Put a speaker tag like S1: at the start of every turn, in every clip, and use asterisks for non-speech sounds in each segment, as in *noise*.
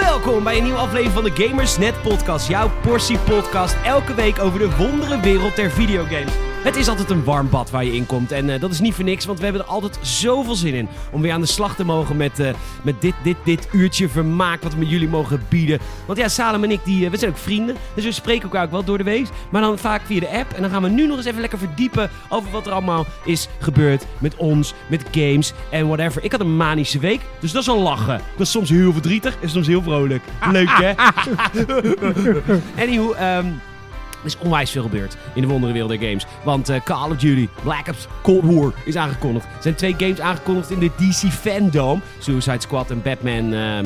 S1: welkom bij een nieuwe aflevering van de Gamersnet Podcast. Jouw portie podcast elke week over de wondere wereld der videogames. Het is altijd een warm bad waar je in komt. En eh, dat is niet voor niks, want we hebben er altijd zoveel zin in. Om weer aan de slag te mogen met, eh, met dit, dit, dit uurtje vermaak wat we met jullie mogen bieden. Want ja, Salem en ik, die, eh, we zijn ook vrienden. Dus we spreken elkaar ook wel door de week. Maar dan vaak via de app. En dan gaan we nu nog eens even lekker verdiepen over wat er allemaal is gebeurd met ons, met games en whatever. Ik had een manische week, dus dat is al lachen. Dat is soms heel verdrietig en soms heel vrolijk. Leuk hè? *laughs* Anyhow, ehm er is onwijs veel gebeurd in de wonderenwereld der games. Want eh, Call of Duty, Black Ops, Cold War is aangekondigd. Er zijn twee games aangekondigd in de DC fandom. Suicide Squad en Batman ehm,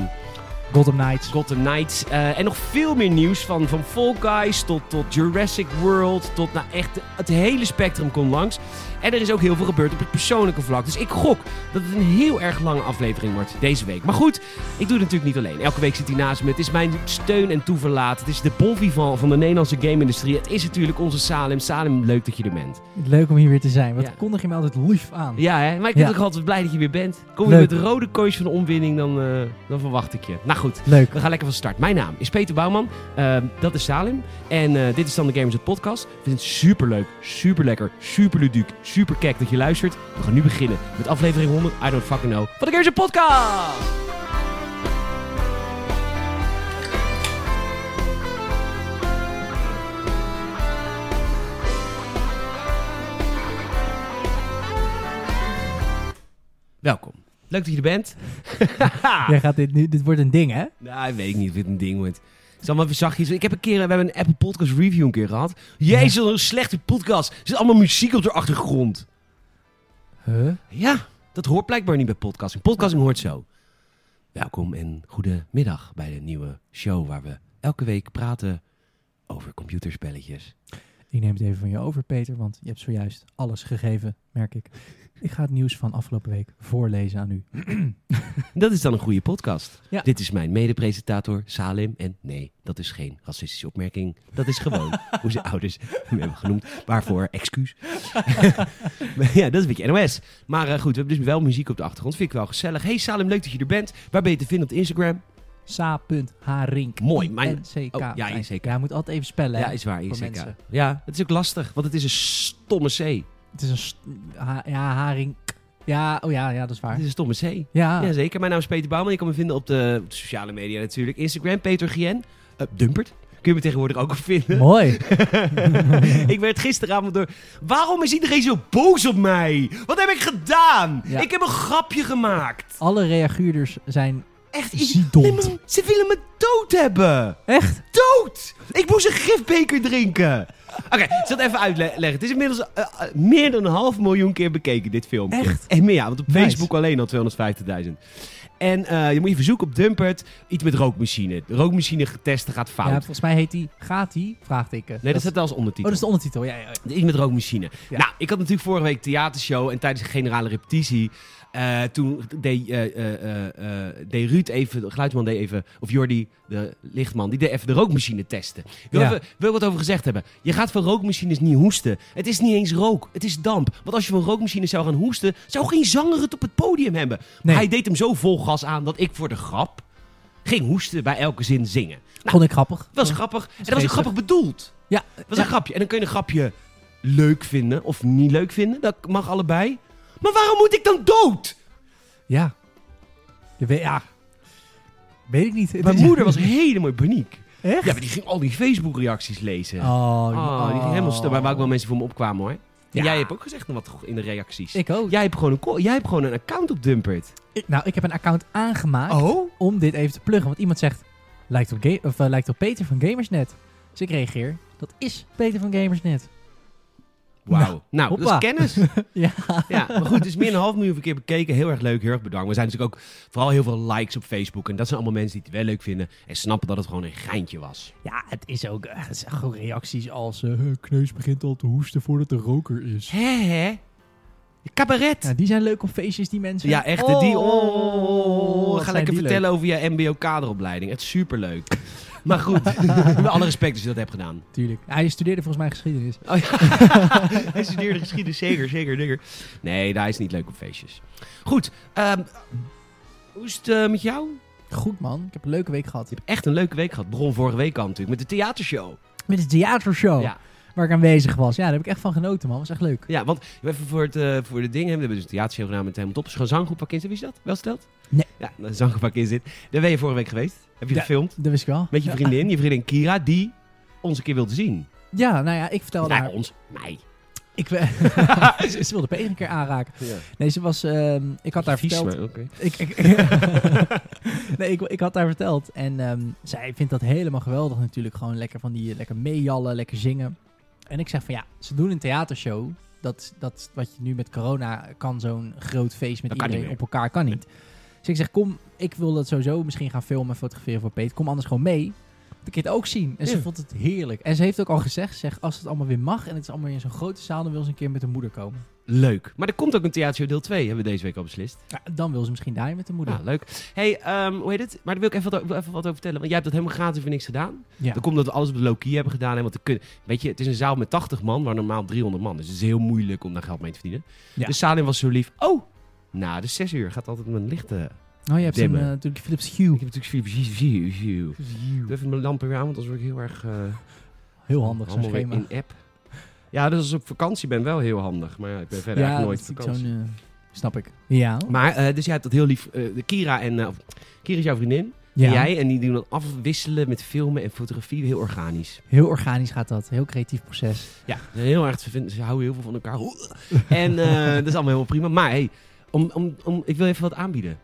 S2: Gotham Knights.
S1: Gotham Knights. eh, en nog veel meer nieuws van, van Fall Guys tot, tot Jurassic World. Tot nou echt het hele spectrum komt langs. En er is ook heel veel gebeurd op het persoonlijke vlak. Dus ik gok dat het een heel erg lange aflevering wordt deze week. Maar goed, ik doe het natuurlijk niet alleen. Elke week zit hij naast me. Het is mijn steun en toeverlaat. Het is de bon vivant van de Nederlandse game-industrie. Het is natuurlijk onze Salem. Salem, leuk dat je er bent.
S2: Leuk om hier weer te zijn. Wat
S1: Ja.
S2: kondig je me altijd lief aan.
S1: Ja, hè? maar ik ben
S2: Ja.
S1: toch altijd blij dat je weer bent. Kom je
S2: Leuk.
S1: met rode kooisjes van de omwinning, dan, eh, dan verwacht ik je. Nou goed.
S2: Leuk.
S1: We gaan lekker van start. Mijn naam is Peter Bouwman. Ehm, dat is Salim. En eh, dit is dan de Gamers het Podcast. Ik vind het superleuk, superlekker, superludiek, superkek dat je luistert. We gaan nu beginnen met aflevering 100. I don't fucking know. Van de Gamers het Podcast! Welkom. Leuk dat je er bent.
S2: Jij gaat dit, nu, dit wordt een ding, hè?
S1: Nou, weet ik niet of dit een ding wordt. Het is allemaal even zachtjes. Ik heb een keer, we hebben een Apple Podcast Review een keer gehad. Jezus, wat een slechte podcast. Er zit allemaal muziek op de achtergrond.
S2: Huh?
S1: Ja, dat hoort blijkbaar niet bij podcasting. Podcasting hoort zo. Welkom en goedemiddag bij de nieuwe show waar we elke week praten over computerspelletjes.
S2: Ik neem het even van je over, Peter, want je hebt zojuist alles gegeven, merk ik. Ik ga het nieuws van afgelopen week voorlezen aan u.
S1: Dat is dan een goede podcast.
S2: Ja.
S1: Dit is mijn medepresentator Salim. En nee, dat is geen racistische opmerking. Dat is
S2: *laughs*
S1: gewoon hoe zijn ouders hem hebben genoemd. Waarvoor, excuus. *laughs* Maar ja, dat is een beetje NOS. Maar eh, goed, we hebben dus wel muziek op de achtergrond. Vind ik wel gezellig. Hey Salim, leuk dat je er bent. Waar ben je te vinden op Instagram?
S2: Sa.harink.
S1: Mooi, mijn-
S2: NCK.
S1: Oh, ja, ICK.
S2: Ja, je moet altijd even spellen, hè?
S1: ja, is waar.
S2: voor
S1: ICK.
S2: mensen.
S1: Ja, het is ook lastig, want het is een stomme C.
S2: Het is een... st- ha- ja, haring. Ja, oh ja, ja, dat is
S1: Het
S2: waar.
S1: is een stomme C.
S2: Ja,
S1: Ja, zeker. Mijn naam is Peter Bouwman. Je kan me vinden op de, op de sociale media natuurlijk. Instagram, Peter Gien. Eh, Dumpert. Kun je me tegenwoordig ook op vinden.
S2: mooi.
S1: *laughs* ik werd gisteravond door. Waarom is iedereen zo boos op mij? Wat heb ik gedaan?
S2: Ja.
S1: Ik heb een grapje gemaakt.
S2: Alle reageerders zijn...
S1: Echt
S2: Ziedond.
S1: Nee, maar Ze willen me dood hebben.
S2: Echt?
S1: Dood! Ik moest een gifbeker drinken. Oké, ik zal het even uitleggen. Het is inmiddels eh, eh, meer dan een half miljoen keer bekeken, dit filmpje.
S2: Echt?
S1: En meer, ja, want op
S2: Nice.
S1: Facebook alleen al 250.000. En eh, je moet je verzoek op Dumpert. Iets met rookmachine. De rookmachine testen gaat
S2: Ja,
S1: fout.
S2: volgens mij heet die... Gaat die? Vraagteken.
S1: nee, dat staat wel als
S2: Oh,
S1: ondertitel.
S2: dat is de ondertitel. Ja, ja, ja.
S1: Ik met rookmachine.
S2: Ja.
S1: Nou, ik had natuurlijk vorige week theatershow en tijdens de generale repetitie. eh, toen deed, eh, eh, eh, eh, deed Ruud even, de geluidsman deed even, of Jordi, de lichtman, die deed even de rookmachine testen. Wil,
S2: Ja.
S1: even, wil ik wat over gezegd hebben? Je gaat van rookmachines niet hoesten. Het is niet eens rook, het is damp. Want als je van rookmachines zou gaan hoesten, zou geen zanger het op het podium hebben.
S2: Nee.
S1: Hij deed hem zo vol gas aan dat ik voor de grap ging hoesten bij elke zin zingen. Nou,
S2: Vond ik grappig.
S1: dat was grappig. En dat was ook
S2: geestig.
S1: grappig bedoeld.
S2: Ja,
S1: Dat is
S2: ja.
S1: een grapje. En dan kun je een grapje leuk vinden of niet leuk vinden. Dat mag allebei. Maar waarom moet ik dan dood?
S2: Ja. Je weet, ja. Weet ik niet. Het
S1: Mijn
S2: is-
S1: moeder was helemaal in paniek.
S2: Echt?
S1: Ja, maar die ging al die Facebook-reacties lezen. Oh,
S2: Oh,
S1: die ging helemaal stuk. Maar waar ook wel
S2: mee.
S1: mensen voor me opkwamen hoor. En
S2: Ja.
S1: jij hebt ook gezegd nog wat in de reacties.
S2: Ik ook.
S1: Jij, hebt gewoon een, ko- jij hebt gewoon een account op Dumpert.
S2: Ik- nou, ik heb een account aangemaakt
S1: Oh?
S2: om dit even te pluggen. Want iemand zegt, lijkt op, Ga- of, eh, lijkt op Peter van Gamersnet. Dus ik reageer, dat is Peter van Gamersnet.
S1: Wauw. Nou, dat
S2: hoppa.
S1: is kennis.
S2: Ja.
S1: *laughs* ja. Maar goed, het is meer dan een half miljoen keer bekeken. Heel erg leuk, heel erg bedankt. We zijn natuurlijk ook vooral heel veel likes op Facebook. En dat zijn allemaal mensen die het wel leuk vinden. En snappen dat het gewoon een geintje was.
S2: Ja, het is ook eh, het zijn gewoon reacties als... eh, Kneus begint al te hoesten voordat er roker is.
S1: Hè, hè? Cabaret.
S2: Ja, die zijn leuk op feestjes, die mensen.
S1: Ja, echt. hè, Die, oh, oh, oh, oh, oh.
S2: wat
S1: Ga
S2: zijn
S1: lekker
S2: die
S1: vertellen over je mbo-kaderopleiding. Het is superleuk. Maar goed, *laughs* met alle respect als je dat hebt gedaan.
S2: leuk. Tuurlijk. Hij studeerde volgens mij geschiedenis.
S1: Oh, ja. *laughs* hij studeerde geschiedenis, zeker, zeker, zeker. Nee, daar is niet leuk op feestjes. Goed, ehm, hoe is het eh, met jou?
S2: Goed man, ik heb een leuke week gehad.
S1: Je hebt echt een leuke week gehad. Bron vorige week al natuurlijk, met de theatershow.
S2: Met de theatershow
S1: Ja.
S2: waar ik aanwezig was. Ja, daar heb ik echt van genoten man, was echt leuk.
S1: Ja, want even voor, het, eh, voor de dingen. We hebben dus een theatershow gedaan met Helmut Top. Is gewoon zanggroep van Kinzen. Wie is dat? Wel stelt?
S2: Nee.
S1: Ja, een zanggroep van Kinzen. Daar ben je vorige week geweest. Heb je
S2: Ja.
S1: gefilmd.
S2: Dat wist ik wel.
S1: Met je
S2: Ja.
S1: vriendin, je vriendin Kira, die ons een keer wilde zien.
S2: Ja, nou ja, ik vertelde
S1: Nou,
S2: haar.
S1: ons. Mij.
S2: *laughs* Ik, we- *laughs* ze ze wilde Peter een keer aanraken.
S1: Ja.
S2: Nee, ze was. ehm, ik had haar
S1: Vies,
S2: verteld.
S1: maar oké.
S2: Ik, ik,
S1: *laughs*
S2: nee, ik, ik had haar verteld. En ehm, zij vindt dat helemaal geweldig natuurlijk. Gewoon lekker van die eh, lekker meejallen, lekker zingen. En ik zeg van ja, ze doen een theatershow. Dat, dat wat je nu met corona kan, zo'n groot feest met
S1: Dat kan niet
S2: iedereen op
S1: meer.
S2: elkaar, kan niet. Dus ik zeg, kom, ik wil dat sowieso misschien gaan filmen en fotograferen voor Peet. Kom anders gewoon mee. Dan kun je het ook zien. En ze
S1: Ja.
S2: vond het heerlijk. En ze heeft ook al gezegd, zeg, als het allemaal weer mag en het is allemaal weer in zo'n grote zaal, dan wil ze een keer met haar moeder komen.
S1: Leuk. Maar er komt ook een theatershow deel 2, hebben we deze week al beslist.
S2: Ja, dan wil ze misschien daarheen met haar moeder.
S1: Ja, nou, leuk. hey, ehm, hoe heet het? Maar daar wil ik even wat, o- even wat over vertellen. Want jij hebt dat helemaal gratis voor niks gedaan.
S2: Ja.
S1: Dan komt dat we alles op de low-key hebben gedaan. Hè? Want er kun- weet je, het is een zaal met 80 man, waar normaal 300 man. Dus het is heel moeilijk om daar geld mee te verdienen.
S2: Ja.
S1: Dus Salim was zo lief. Oh, nou, de 6 uur gaat altijd mijn lichten.
S2: Oh, je hebt hem
S1: Dimmen.
S2: natuurlijk Philips Hue.
S1: Ik heb natuurlijk Philips Hue- Hue- Hue. Ik doe even mijn lampen weer aan, want anders word ik heel erg... eh,
S2: Heel handig zo'n
S1: allemaal weer
S2: schema.
S1: in app. Ja, dus als ik op vakantie ben wel heel handig. Maar ja, ik ben verder eigenlijk nooit
S2: dat
S1: op
S2: is
S1: vakantie.
S2: zo'n, eh, snap ik. Ja.
S1: Maar, eh, dus jij hebt dat heel lief... eh, de Kira en... eh, of- Kira is jouw vriendin.
S2: ja.
S1: En jij. En die doen dat afwisselen met filmen en fotografie. Heel organisch.
S2: Heel organisch gaat dat. Heel creatief proces.
S1: Ja, heel erg. Ze, vinden, ze houden heel veel van elkaar. *laughs* En eh, dat is allemaal helemaal prima. Maar hey, om, om, om, ik wil even wat aanbieden.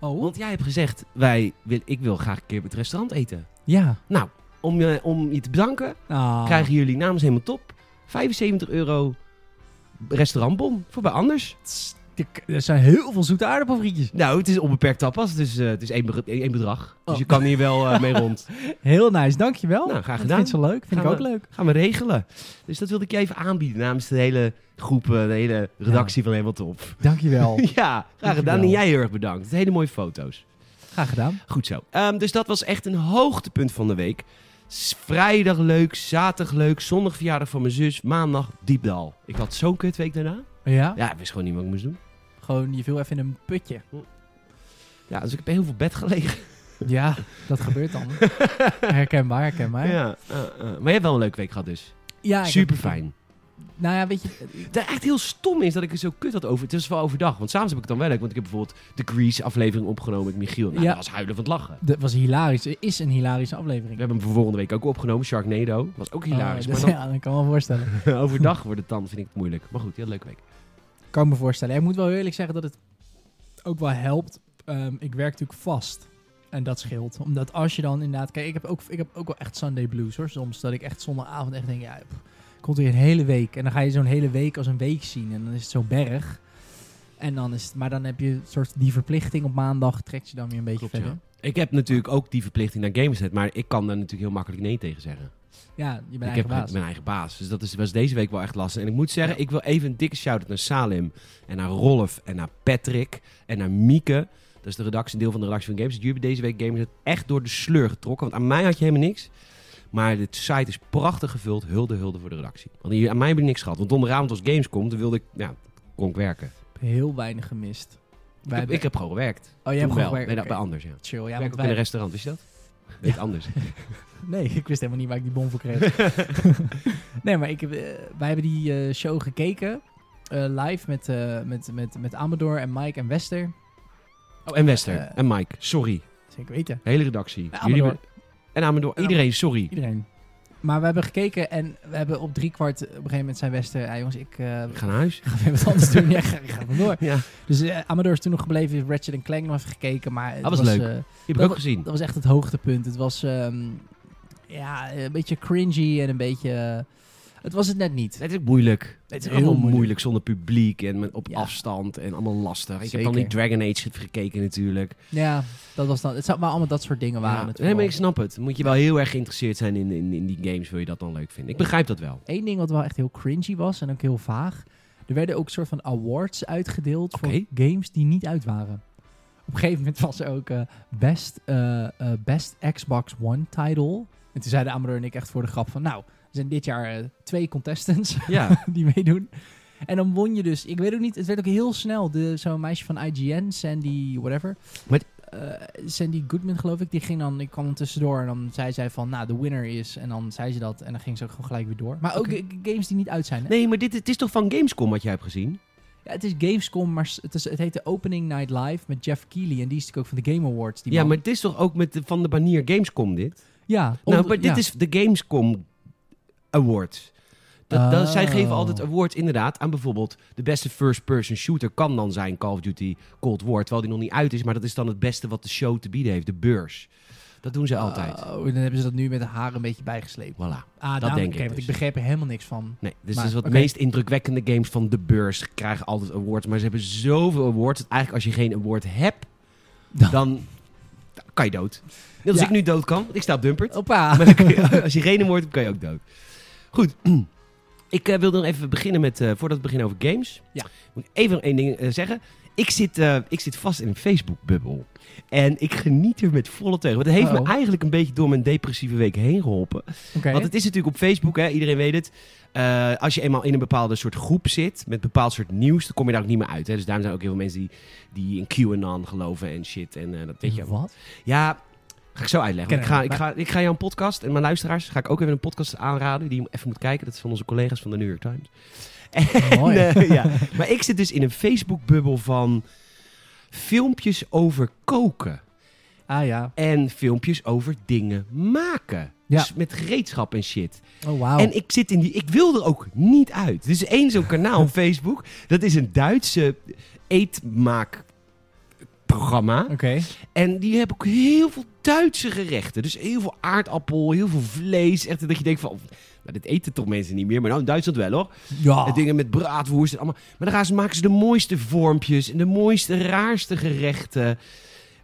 S2: Oh?
S1: Want jij hebt gezegd, wij, wil, ik wil graag een keer op het restaurant eten.
S2: Ja.
S1: Nou, om je, om je te bedanken,
S2: Ah.
S1: krijgen jullie namens helemaal top 75 euro restaurantbon voor bij Anders.
S2: Tss, dik. Er zijn heel veel zoete aardappelfrietjes.
S1: Nou, het is onbeperkt tapas, dus eh, het is één, be- één bedrag. Dus
S2: Oh.
S1: je kan hier wel eh, mee *laughs* rond.
S2: Heel nice, dankjewel.
S1: Nou, graag
S2: Dat
S1: gedaan.
S2: vind ze leuk. Vind
S1: Gaan
S2: ik ook leuk.
S1: Gaan we regelen. Dus dat wilde ik je even aanbieden namens de hele groep, eh, de hele redactie van helemaal top.
S2: *laughs*
S1: *laughs*
S2: Dankjewel.
S1: Ja, graag
S2: Dankjewel.
S1: gedaan. En jij heel erg bedankt. Het zijn hele mooie foto's.
S2: *laughs* graag gedaan.
S1: Goed zo. Ehm, dus dat was echt een hoogtepunt van de week. S- Vrijdag leuk, zaterdag leuk, zondag verjaardag van mijn zus, maandag diepdal. Ik had zo'n kutweek daarna.
S2: Ja?
S1: Ja, ik wist gewoon niet wat ik moest doen.
S2: Gewoon, je viel even in een putje.
S1: Ja, dus ik heb heel veel bed gelegen.
S2: Ja, dat
S1: *laughs*
S2: gebeurt dan. Herkenbaar, herkenbaar.
S1: Ja, eh, eh. maar je hebt wel een leuke week gehad dus.
S2: Ja, ik
S1: Super
S2: heb-
S1: fijn.
S2: Nou ja, weet je...
S1: Dat echt heel stom is dat ik er zo kut had over. Het is wel overdag, want s'avonds heb ik het dan wel leuk. Want ik heb bijvoorbeeld de Grease aflevering opgenomen met Michiel. Nou,
S2: Ja.
S1: dat was huilen van het lachen.
S2: Dat was hilarisch. Het is een hilarische
S1: We
S2: aflevering.
S1: hebben hem voor volgende week ook opgenomen, Sharknado. Was ook hilarisch.
S2: Oh, dat-
S1: maar
S2: Ja, dat kan ik me wel voorstellen.
S1: dan, *laughs* overdag wordt het dan, vind ik het moeilijk. Maar goed, heel leuke week.
S2: Kan ik me voorstellen. Ik moet wel eerlijk zeggen dat het ook wel helpt. Ehm, ik werk natuurlijk vast. En dat scheelt. Omdat als je dan inderdaad... Kijk, ik heb ook, ik heb ook wel echt Sunday blues hoor. Soms dat ik echt zondagavond echt denk... Ja, pff, komt weer een hele week. En dan ga je zo'n hele week als een week zien. En dan is het zo'n berg. En dan is het, maar dan heb je een soort die verplichting op maandag. Trekt je dan weer een beetje
S1: Klopt,
S2: verder.
S1: Ik heb natuurlijk ook die verplichting naar Gamersnet, maar ik kan daar natuurlijk heel makkelijk nee tegen zeggen.
S2: Ja, je bent
S1: ik heb
S2: eigenlijk baas.
S1: mijn eigen baas. Dus dat is, was deze week wel echt lastig. En ik moet zeggen, ik wil even een dikke shout-out naar Salim en naar Rolf en naar Patrick en naar Mieke. Dat is de redactie, een deel van de redactie van Games. Jullie hebben deze week Gamersnet echt door de sleur getrokken. Want aan mij had je helemaal niks. Maar de site is prachtig gevuld. Hulde, hulde voor de redactie. Want jullie- aan mij hebben jullie niks gehad. Want donderdagavond als Gamescom, toen wilde ik, ja, kon ik werken.
S2: Ik heb Heel weinig gemist.
S1: Ik heb, ik heb gewoon gewerkt.
S2: oh, jij
S1: Toen
S2: hebt
S1: wel.
S2: gewoon gewerkt.
S1: Bij, bij
S2: Oké,
S1: anders, ja.
S2: Chill, ja,
S1: Ik werk
S2: want
S1: ook in een
S2: wij...
S1: restaurant, wist je
S2: *laughs*
S1: dat? Weet anders.
S2: Nee, *laughs* ik wist helemaal niet waar ik die bon voor kreeg. Nee, maar ik, heb, eh, wij hebben die eh, show gekeken. eh, live met, eh, met, met, met Amador en Mike en Wester.
S1: Oh, en Wester.
S2: Eh,
S1: en Mike. Sorry.
S2: Zeker weten.
S1: Hele redactie.
S2: En Amador.
S1: be- en Amador.
S2: En
S1: Iedereen, sorry.
S2: Iedereen. Maar we hebben gekeken en we hebben op drie kwart op een gegeven moment zijn Wester. Ja, jongens, ik eh, *laughs*
S1: Ik ga naar huis.
S2: ga weer wat anders doen. *laughs* Ja, ga, ga maar door.
S1: Ja,
S2: Dus eh, Amador is toen nog gebleven. Heeft Ratchet en Clank nog even gekeken. Maar het
S1: was leuk.
S2: eh,
S1: die heb ik
S2: Dat
S1: ook gezien.
S2: dat was echt het hoogtepunt. Het was ehm, ja, een beetje cringy en een beetje... eh, het was het net niet.
S1: Het is ook moeilijk.
S2: Het
S1: Het is
S2: is heel
S1: allemaal
S2: moeilijk.
S1: moeilijk. zonder publiek en met- op
S2: Ja.
S1: afstand en allemaal lastig. Ik
S2: Zeker.
S1: heb dan die Dragon Age gekeken natuurlijk.
S2: Ja, dat was dan... Het zou maar allemaal dat soort dingen waren.
S1: Ja,
S2: het
S1: nee, maar
S2: vooral.
S1: ik snap het. Moet je wel heel erg geïnteresseerd zijn in, in, in die games, wil je dat dan leuk vinden. Ik begrijp dat wel.
S2: Eén ding wat wel echt heel cringy was en ook heel vaag. Er werden ook soort van awards uitgedeeld
S1: Oké.
S2: voor games die niet uit waren. Op een gegeven moment was er ook eh, best, eh, eh, best Xbox One title. En toen zeiden Amador en ik echt voor de grap van... Nou, er zijn dit jaar eh, twee contestants
S1: Ja,
S2: *laughs* die meedoen. En dan won je dus... Ik weet ook niet, het werd ook heel snel. de- Zo'n meisje van IGN, Sandy whatever.
S1: Maar
S2: eh, Sandy Goodman, geloof ik, die ging dan, ik kwam er tussendoor en dan zei zij van, nou, de winner is. En dan zei ze dat en dan ging ze ook gewoon gelijk weer door. Maar ook
S1: Oké.
S2: eh, games die niet uit zijn.
S1: *laughs*
S2: hè?
S1: Nee, maar dit het is toch van Gamescom wat jij hebt gezien?
S2: Ja, het is Gamescom, maar s- het, is, het heet de Opening Night Live met Jeff Keighley. En die is natuurlijk ook van de Game Awards. Die
S1: ja,
S2: man.
S1: maar het is toch ook met de- van de banier Gamescom dit?
S2: Ja,
S1: nou,
S2: onder-
S1: maar dit
S2: ja.
S1: is de Gamescom Award. Dat, dat- zij
S2: Oh.
S1: geven altijd awards inderdaad aan bijvoorbeeld de beste first-person shooter kan dan zijn Call of Duty Cold War. Terwijl die nog niet uit is, maar dat is dan het beste wat de show te bieden heeft, de beurs. Dat doen ze altijd.
S2: Oh, dan hebben ze dat nu met de haren een beetje bijgesleept.
S1: Voilà.
S2: Ah,
S1: Dat
S2: daarom-
S1: denk ik
S2: oké, want
S1: dus.
S2: ik begreep er helemaal niks van.
S1: Nee, dus
S2: Maar,
S1: het is wat
S2: oké.
S1: meest indrukwekkende games van de beurs krijgen altijd awards. Maar ze hebben zoveel awards. Dat eigenlijk als je geen award hebt,
S2: Dan-
S1: dan kan je dood. Net als
S2: Ja.
S1: ik nu dood kan, want ik sta op Dumpert. *laughs*
S2: Opa!
S1: Maar dan kun je- als je geen award hebt, kan je ook dood. Goed. *clears throat* Ik eh, wil dan even beginnen met, eh, voordat we beginnen over games.
S2: Ja.
S1: Moet ik even nog één ding eh, zeggen. Ik zit, eh, ik zit vast in een Facebook-bubbel. En ik geniet er met volle teugen. Want het heeft
S2: Oh.
S1: me eigenlijk een beetje door mijn depressieve week heen geholpen.
S2: Oké.
S1: Want het is natuurlijk op Facebook, hè, iedereen weet het. Eh, als je eenmaal in een bepaalde soort groep zit, met bepaald soort nieuws, dan kom je daar ook niet meer uit. Hè. Dus daarom zijn ook heel veel mensen die, die in QAnon geloven en shit. En eh, dat weet je ook.
S2: Wat?
S1: Ja, ga ik zo uitleggen.
S2: Ken
S1: Ik
S2: hem,
S1: ga, ik, ga, ik ga jou een podcast en mijn luisteraars ga ik ook even een podcast aanraden. Die je even moet kijken. Dat is van onze collega's van de New York Times. En,
S2: Mooi.
S1: eh, *laughs* ja. Maar ik zit dus in een Facebook-bubbel van filmpjes over koken.
S2: Ah ja.
S1: En filmpjes over dingen maken.
S2: Ja.
S1: Dus met gereedschap en shit.
S2: Oh, wauw.
S1: En ik zit in die. Ik wil er ook niet uit. Dus één zo'n kanaal
S2: *laughs*
S1: op Facebook. Dat is een Duitse eetmaakprogramma.
S2: Oké.
S1: En die hebben ook heel veel Duitse gerechten. Dus heel veel aardappel, heel veel vlees. Echt dat je denkt van... Nou, dit eten toch mensen niet meer. Maar nou, in Duitsland wel hoor.
S2: Ja.
S1: En dingen met braadwoerst en allemaal. Maar dan gaan ze, maken ze de mooiste vormpjes. En de mooiste, raarste gerechten.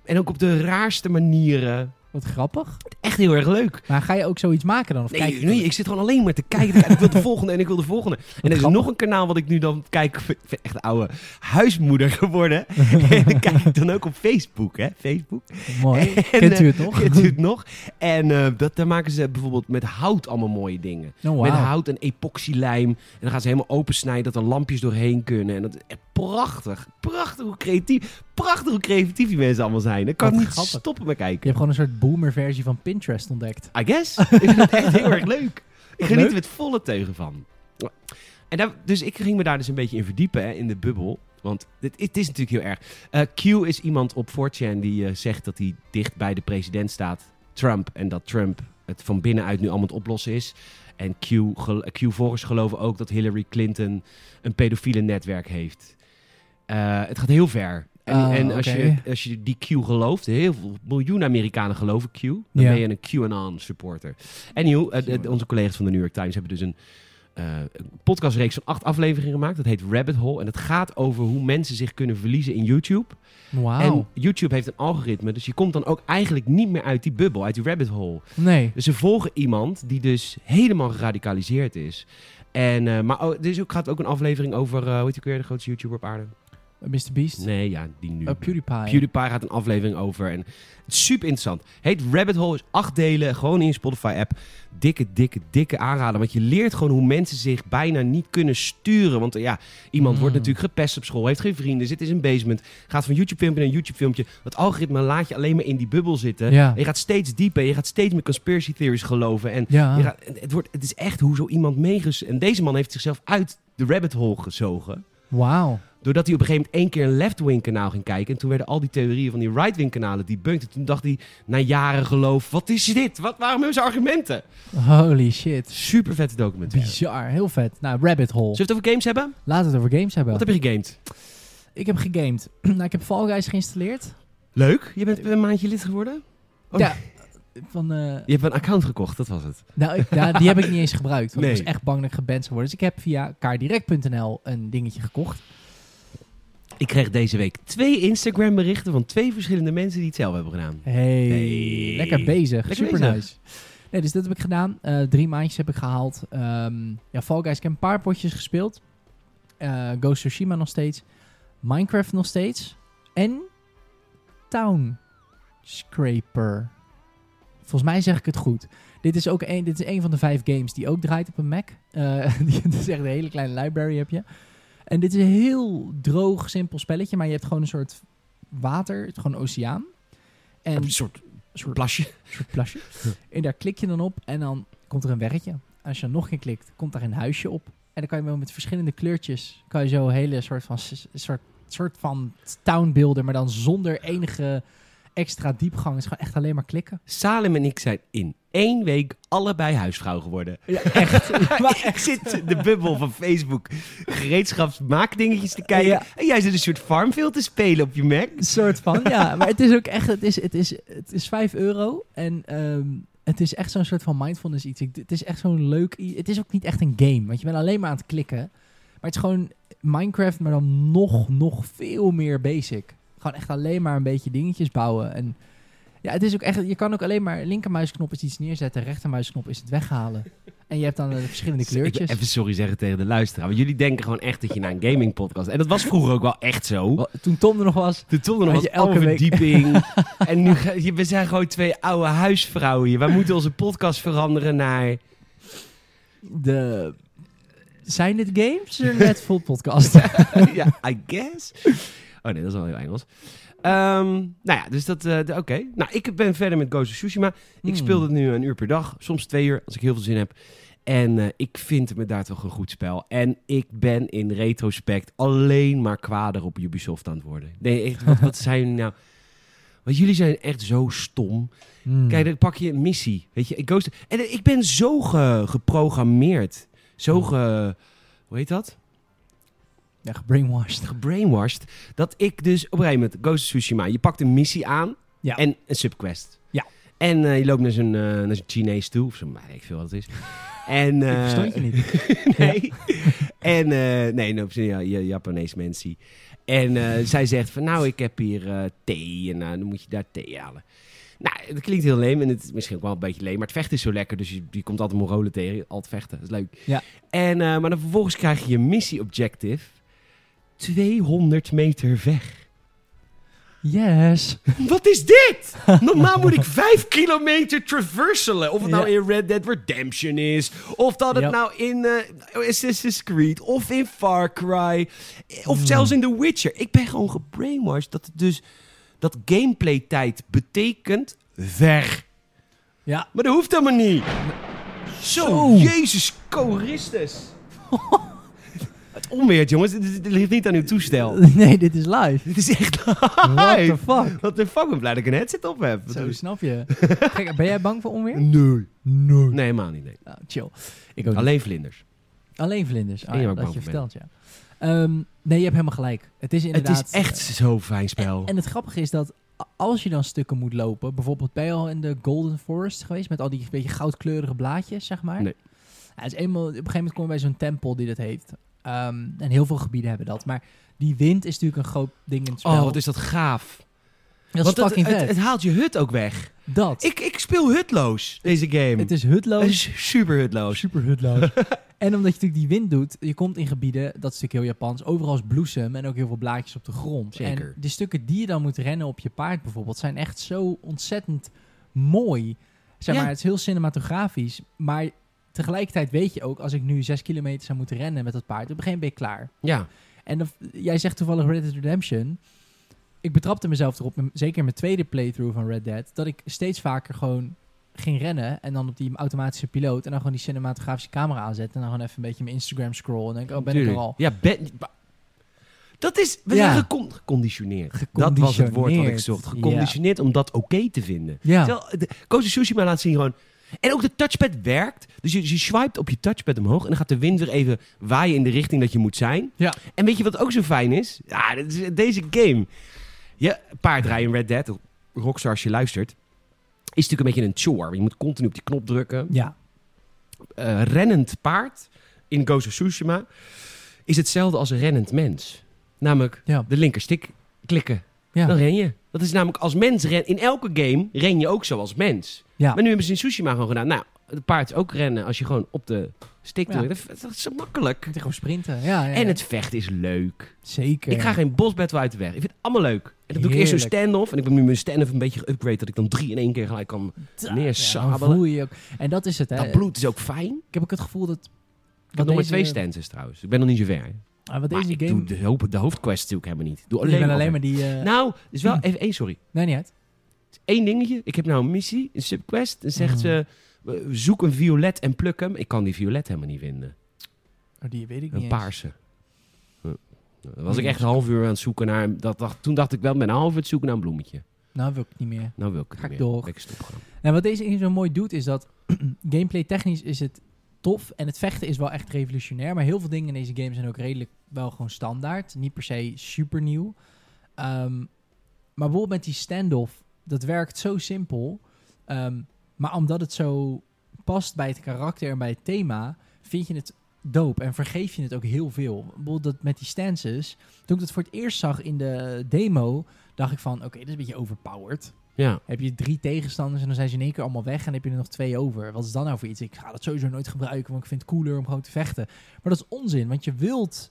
S1: En ook op de raarste manieren.
S2: Wat grappig.
S1: Echt heel erg leuk.
S2: Maar ga je ook zoiets maken dan? Of
S1: Nee,
S2: kijk je
S1: nee,
S2: dan-
S1: ik zit gewoon alleen maar te kijken. Ik wil de volgende en ik wil de volgende. En er is
S2: grappig.
S1: nog een kanaal wat ik nu dan kijk. Ik ben echt een oude huismoeder geworden. *laughs* en dan kijk ik dan ook op Facebook. Hè? Facebook.
S2: Mooi.
S1: *laughs* En,
S2: Kent u het
S1: eh,
S2: nog?
S1: Kent
S2: *laughs*
S1: u het nog? En eh, dat, daar maken ze bijvoorbeeld met hout allemaal mooie dingen.
S2: Oh,
S1: Met
S2: wauw.
S1: hout en epoxylijm. En dan gaan ze helemaal opensnijden dat er lampjes doorheen kunnen. En dat is echt prachtig. Prachtig hoe creatief, prachtig hoe creatief die mensen allemaal zijn. Ik kan
S2: Wat
S1: niet
S2: grappig.
S1: stoppen met
S2: Je
S1: kijken.
S2: hebt gewoon een soort boomer versie van Pinterest ontdekt.
S1: I guess. *laughs* ik vind het echt heel erg leuk. Ik
S2: Wat
S1: geniet
S2: leuk.
S1: er met volle teugen van. En daar, dus ik ging me daar dus een beetje in verdiepen, hè, in de bubbel. Want dit, het is natuurlijk heel erg. Eh, Q is iemand op 4chan die eh, zegt dat hij dicht bij de president staat, Trump. En dat Trump het van binnenuit nu allemaal aan het oplossen is. En Q, gel- Q-volgers geloven ook dat Hillary Clinton een pedofiele netwerk heeft. Eh, het gaat heel ver. En,
S2: Ah,
S1: en als,
S2: oké.
S1: je, als je die Q gelooft, heel veel miljoenen Amerikanen geloven Q, dan
S2: Ja.
S1: ben je een QAnon supporter. Anyhow, eh, eh, onze collega's van de New York Times hebben dus een, eh, een podcastreeks van acht afleveringen gemaakt. Dat heet Rabbit Hole. En dat gaat over hoe mensen zich kunnen verliezen in YouTube. En
S2: Wauw.
S1: YouTube heeft een algoritme, dus je komt dan ook eigenlijk niet meer uit die bubbel, uit die rabbit hole.
S2: Nee.
S1: Dus ze volgen iemand die dus helemaal geradicaliseerd is. En, eh, maar oh, er is ook, gaat ook een aflevering over, eh, hoe heet die ook weer, de grootste YouTuber op aarde?
S2: Mr. Beast.
S1: Nee, ja, die nu.
S2: Eh, PewDiePie.
S1: PewDiePie gaat een aflevering over. En het is super interessant. Heet Rabbit Hole is acht delen. Gewoon in je Spotify-app. Dikke, dikke, dikke aanrader. Want je leert gewoon hoe mensen zich bijna niet kunnen sturen. Want eh, ja, iemand wordt
S2: Mm.
S1: natuurlijk gepest op school. Heeft geen vrienden. Zit in zijn basement. Gaat van YouTube-filmpje naar YouTube-filmpje. Dat algoritme laat je alleen maar in die bubbel zitten.
S2: Ja.
S1: En je gaat steeds dieper. Je gaat steeds meer conspiracy theories geloven. En
S2: Ja.
S1: je gaat- en het, wordt, het is echt hoe zo iemand meeges... En deze man heeft zichzelf uit de rabbit hole gezogen.
S2: Wauw.
S1: Doordat hij op een gegeven moment één keer een left-wing kanaal ging kijken. En toen werden al die theorieën van die right-wing kanalen debunked. En toen dacht hij na jaren geloof, wat is dit? Wat waren hun zijn argumenten?
S2: Holy shit.
S1: Super vette documentaire. Zullen
S2: Bizar. Heel vet. Nou, Rabbit Hole.
S1: we het over games hebben?
S2: Laten we het over games hebben.
S1: Wat heb je gegamed?
S2: Ik heb gegamed. *clears throat* nou, ik heb Fall Guys geïnstalleerd.
S1: Leuk. Je bent een maandje lid geworden? Oh,
S2: Ja. Van, eh,
S1: Je hebt een account gekocht, dat was het.
S2: Nou, ik, ja, die heb ik niet eens gebruikt. Want ik
S1: Nee.
S2: was echt bang dat ik geband zou worden. Dus ik heb via kaardirect.nl een dingetje gekocht.
S1: Ik kreeg deze week twee Instagram berichten van twee verschillende mensen die het zelf hebben gedaan.
S2: Hey,
S1: Hey.
S2: lekker bezig.
S1: Lekker
S2: Super
S1: bezig.
S2: nice. Nee, dus dat heb ik gedaan. Eh, drie maandjes heb ik gehaald. Ehm, ja, Fall Guys, ik heb een paar potjes gespeeld. Eh Ghost of Tsushima nog steeds. Minecraft nog steeds. En Town Scraper. Volgens mij zeg ik het goed. Dit is ook een, dit is een van de vijf games die ook draait op een Mac. Eh *laughs* die, het is echt een hele kleine library heb je. En dit is een heel droog, simpel spelletje. Maar je hebt gewoon een soort water, het is gewoon een oceaan. En
S1: Een
S2: een
S1: soort
S2: soort,
S1: plasje.
S2: soort plasje. *laughs* En daar klik je dan op en dan komt er een werkje. Als je dan nog een klikt, komt daar een huisje op. En dan kan je wel met verschillende kleurtjes... kan je zo een hele soort van, s- soort, soort van town builder... maar dan zonder enige extra diepgang. Het is gewoon echt alleen maar klikken.
S1: Salem en ik zijn in één week allebei huisvrouw geworden.
S2: Ja, *laughs* echt.
S1: *laughs* Maar ik zit in de bubbel van Facebook gereedschapsmaakdingetjes te kijken.
S2: Ja.
S1: En jij zit een soort farmville te spelen op je Mac.
S2: Een soort van, ja. Maar het is ook echt, het is, het is, het is 5 euro. En ehm, het is echt zo'n soort van mindfulness iets. Ik- Het is echt zo'n leuk i- Het is ook niet echt een game, want je bent alleen maar aan het klikken. Maar het is gewoon Minecraft, maar dan nog, nog veel meer basic. Gewoon echt alleen maar een beetje dingetjes bouwen. En ja, het is ook echt, je kan ook alleen maar linkermuisknop is iets neerzetten, rechtermuisknop is het weghalen. En je hebt dan eh,
S1: *laughs*
S2: verschillende
S1: Ik
S2: kleurtjes.
S1: wil even sorry zeggen tegen de luisteraar. Want jullie denken gewoon echt dat je naar een gaming podcast. En dat was vroeger ook wel echt zo.
S2: Wel, Toen Tom er nog was,
S1: De tonnen nog
S2: Had
S1: was
S2: je elke
S1: elke
S2: week- *laughs*
S1: verdieping. en nu ga- je- we zijn gewoon twee oude huisvrouwen hier. Wij moeten onze podcast veranderen naar. *laughs*
S2: de... Zijn dit games? Een Red Full podcast.
S1: ja, I guess. Oh nee, dat is wel heel Engels. Ehm, nou ja, dus dat. eh, d- Oké. Nou, ik ben verder met Ghost of Tsushima. Ik
S2: Hmm.
S1: speel het nu een uur per dag, soms twee uur als ik heel veel zin heb. En eh, ik vind het me daar toch een goed spel. En ik ben in retrospect alleen maar kwader op Ubisoft aan het worden. Nee, echt, wat, wat zijn jullie nou? Want jullie zijn echt zo stom.
S2: Hmm.
S1: Kijk, dan pak je een missie. Weet je, ik ghost. En eh, ik ben zo ge- geprogrammeerd.
S2: Hmm.
S1: Zo ge. Hoe heet dat?
S2: Ja, gebrainwashed.
S1: gebrainwashed. Dat ik dus op een gegeven moment, Ghost of Tsushima, je pakt een missie aan
S2: Ja.
S1: en een subquest.
S2: Ja.
S1: En eh, je loopt naar zo'n eh, naar zo'n Chinees toe, of zo, maar ik veel wat het
S2: *laughs*
S1: is. En, eh,
S2: ik verstond je niet.
S1: *laughs* nee. En, eh, nee, nee, op zijn ja, ja- Japanees mensie. En eh,
S2: *laughs*
S1: zij zegt van, nou, ik heb hier eh, thee en eh, dan moet je daar thee halen. Nou, dat klinkt heel leem en het is misschien ook wel een beetje leem, maar het vechten is zo lekker, dus je, je komt altijd Mongolen tegen, altijd vechten, dat is leuk.
S2: Ja.
S1: En, eh, maar dan vervolgens krijg je je missie objective 200 meter weg.
S2: *laughs* Yes.
S1: Wat is dit?
S2: *laughs*
S1: Normaal moet ik vijf kilometer traverselen. Of het nou in Red Dead Redemption is. Of dat het
S2: Ja.
S1: nou in eh, Assassin's Creed. Of in Far Cry. Of
S2: Hmm.
S1: zelfs in The Witcher. Ik ben gewoon gebrainwashed dat het dus... Dat gameplay tijd betekent weg.
S2: Ja.
S1: Maar dat hoeft helemaal niet. Zo,
S2: Zo.
S1: Jezus Christus.
S2: *laughs*
S1: het onweert, jongens. Dit- Dit dit ligt niet aan uw
S2: *laughs*
S1: toestel.
S2: *laughs* Nee, dit is live.
S1: Dit is echt
S2: What
S1: live.
S2: the fuck?
S1: Wat de fuck, ik ben blij dat ik een headset op heb. Wat
S2: Zo,
S1: doe je?
S2: snap je. Kijk, ben jij bang voor onweer?
S1: Nee.
S2: Nee.
S1: Nee, helemaal niet. Nee.
S2: Nou, chill. Ik ook niet.
S1: Alleen vlinders.
S2: Alleen vlinders. Ah,
S1: En je
S2: ja,
S1: ook
S2: dat
S1: bang
S2: je
S1: voor ben.
S2: vertelt, ja. Ehm, nee, je hebt helemaal gelijk. Het is inderdaad... eh,
S1: het is echt zo'n fijn spel.
S2: En het grappige is dat a- als je dan stukken moet lopen, bijvoorbeeld ben je al in de Golden Forest geweest met al die beetje goudkleurige blaadjes, zeg maar.
S1: Nee.
S2: Ja, het is eenmaal, op een gegeven moment kom je bij zo'n tempel die dat heeft. Ehm, en heel veel gebieden hebben dat. Maar die wind is natuurlijk een groot ding in het spel.
S1: oh, wat is dat gaaf.
S2: dat is
S1: Want het-
S2: fucking
S1: het,
S2: vet.
S1: het, haalt je hut ook weg.
S2: dat.
S1: Ik, ik speel hutloos, deze game.
S2: het
S1: Het
S2: is hutloos.
S1: is super hutloos.
S2: Super hutloos.
S1: *laughs*
S2: en omdat je natuurlijk die wind doet, je komt in gebieden, dat is natuurlijk heel Japans, overal is bloesem en ook heel veel blaadjes op de grond.
S1: Zeker.
S2: En de stukken die je dan moet rennen op je paard bijvoorbeeld, zijn echt zo ontzettend mooi. Zeg
S1: Ja.
S2: maar, het is heel cinematografisch, maar tegelijkertijd weet je ook, als ik nu zes kilometer zou moeten rennen met dat paard, op een gegeven moment ben je klaar.
S1: Ja.
S2: En dan- jij zegt toevallig Red Dead Redemption. Ik betrapte mezelf erop, m- zeker in mijn tweede playthrough van Red Dead, dat ik steeds vaker gewoon ging rennen en dan op die automatische piloot en dan gewoon die cinematografische camera aanzet en dan gewoon even een beetje mijn Instagram scroll en denk ik, oh ben ik
S1: Tuurlijk.
S2: er al.
S1: Ja, ben... ba- Dat is... We
S2: Ja.
S1: zijn gecon- geconditioneerd. Dat was het woord wat ik
S2: Geconditioneerd.
S1: zocht. Geconditioneerd om dat oké te vinden.
S2: Ja,
S1: Terwijl eh, de- Koos de Sushima laat zien gewoon... En ook de touchpad werkt. Dus je, je swipet op je touchpad omhoog. En dan gaat de wind weer even waaien in de richting dat je moet zijn.
S2: Ja.
S1: En weet je wat ook zo fijn is? Ja, dit is deze game. Je paardrijden in Red Dead, Rockstar als je luistert... Is natuurlijk een beetje een chore. Je moet continu op die knop drukken.
S2: ja,
S1: Eh, rennend paard in Ghost of Tsushima... is hetzelfde als een rennend mens. Namelijk
S2: ja,
S1: de linkerstick klikken. Dan
S2: ja,
S1: ren je. Dat is namelijk als mens... Ren, in elke game ren je ook zoals mens.
S2: ja.
S1: Maar nu hebben ze in Tsushima gewoon gedaan. Nou, het paard is ook rennen als je gewoon op de stick
S2: Ja.
S1: drukt. Dat, dat is zo makkelijk.
S2: Je moet gewoon sprinten. Ja, ja, ja.
S1: En het vechten is leuk.
S2: zeker.
S1: Ik ga geen bossbattle uit de weg. Ik vind het allemaal leuk. En dan doe ik eerst zo'n
S2: Heerlijk.
S1: stand-off. En ik ben nu mijn stand-off een beetje geüpgrade. Dat ik dan drie in één keer gelijk kan.
S2: Ja,
S1: neersabelen.
S2: dan voel je je ook. En dat is het. Hè.
S1: Dat bloed is ook fijn.
S2: Ik heb ook het gevoel dat.
S1: Ik heb nog maar twee
S2: stem.
S1: stances trouwens. Ik ben nog niet zo ver. Maar
S2: ah, Wat deze
S1: ik
S2: game.
S1: doe de, hoop- de hoofdquest natuurlijk helemaal niet. Ik Doe
S2: je
S1: alleen,
S2: bent
S1: maar,
S2: alleen maar die. eh,
S1: Nou, is wel even één, sorry.
S2: nee, niet uit.
S1: Eén dingetje. Ik heb nou een missie, een subquest. En zegt
S2: Mhm.
S1: ze, eh, zoek een violet en pluk hem. Ik kan die violet helemaal niet vinden.
S2: Oh, die weet ik niet
S1: Een
S2: eens.
S1: paarse. Huh. Dan was ik echt een half uur aan het zoeken naar... Dat, dacht- toen dacht ik wel, ben een half uur aan het zoeken naar een bloemetje.
S2: Nou, wil ik het niet meer.
S1: Nou wil ik het
S2: Ga ik
S1: niet
S2: door.
S1: meer. Ben ik stopgegaan.
S2: Nou, wat deze game zo mooi doet, is dat *clears throat* gameplay technisch is het tof. En het vechten is wel echt revolutionair. Maar heel veel dingen in deze game zijn ook redelijk wel gewoon standaard. Niet per se super nieuw. Ehm, maar bijvoorbeeld met die standoff, dat werkt zo simpel. Ehm, maar omdat het zo past bij het karakter en bij het thema, vind je het dope. En vergeef je het ook heel veel. Bijvoorbeeld dat met die stances. Toen ik dat voor het eerst zag in de demo, dacht ik van, oké, dit is een beetje overpowered
S1: Ja.
S2: heb je drie tegenstanders en dan zijn ze in één keer allemaal weg en dan heb je er nog twee over. Wat is dan nou voor iets? Ik ga dat sowieso nooit gebruiken, want ik vind het cooler om gewoon te vechten. Maar dat is onzin, want je wilt,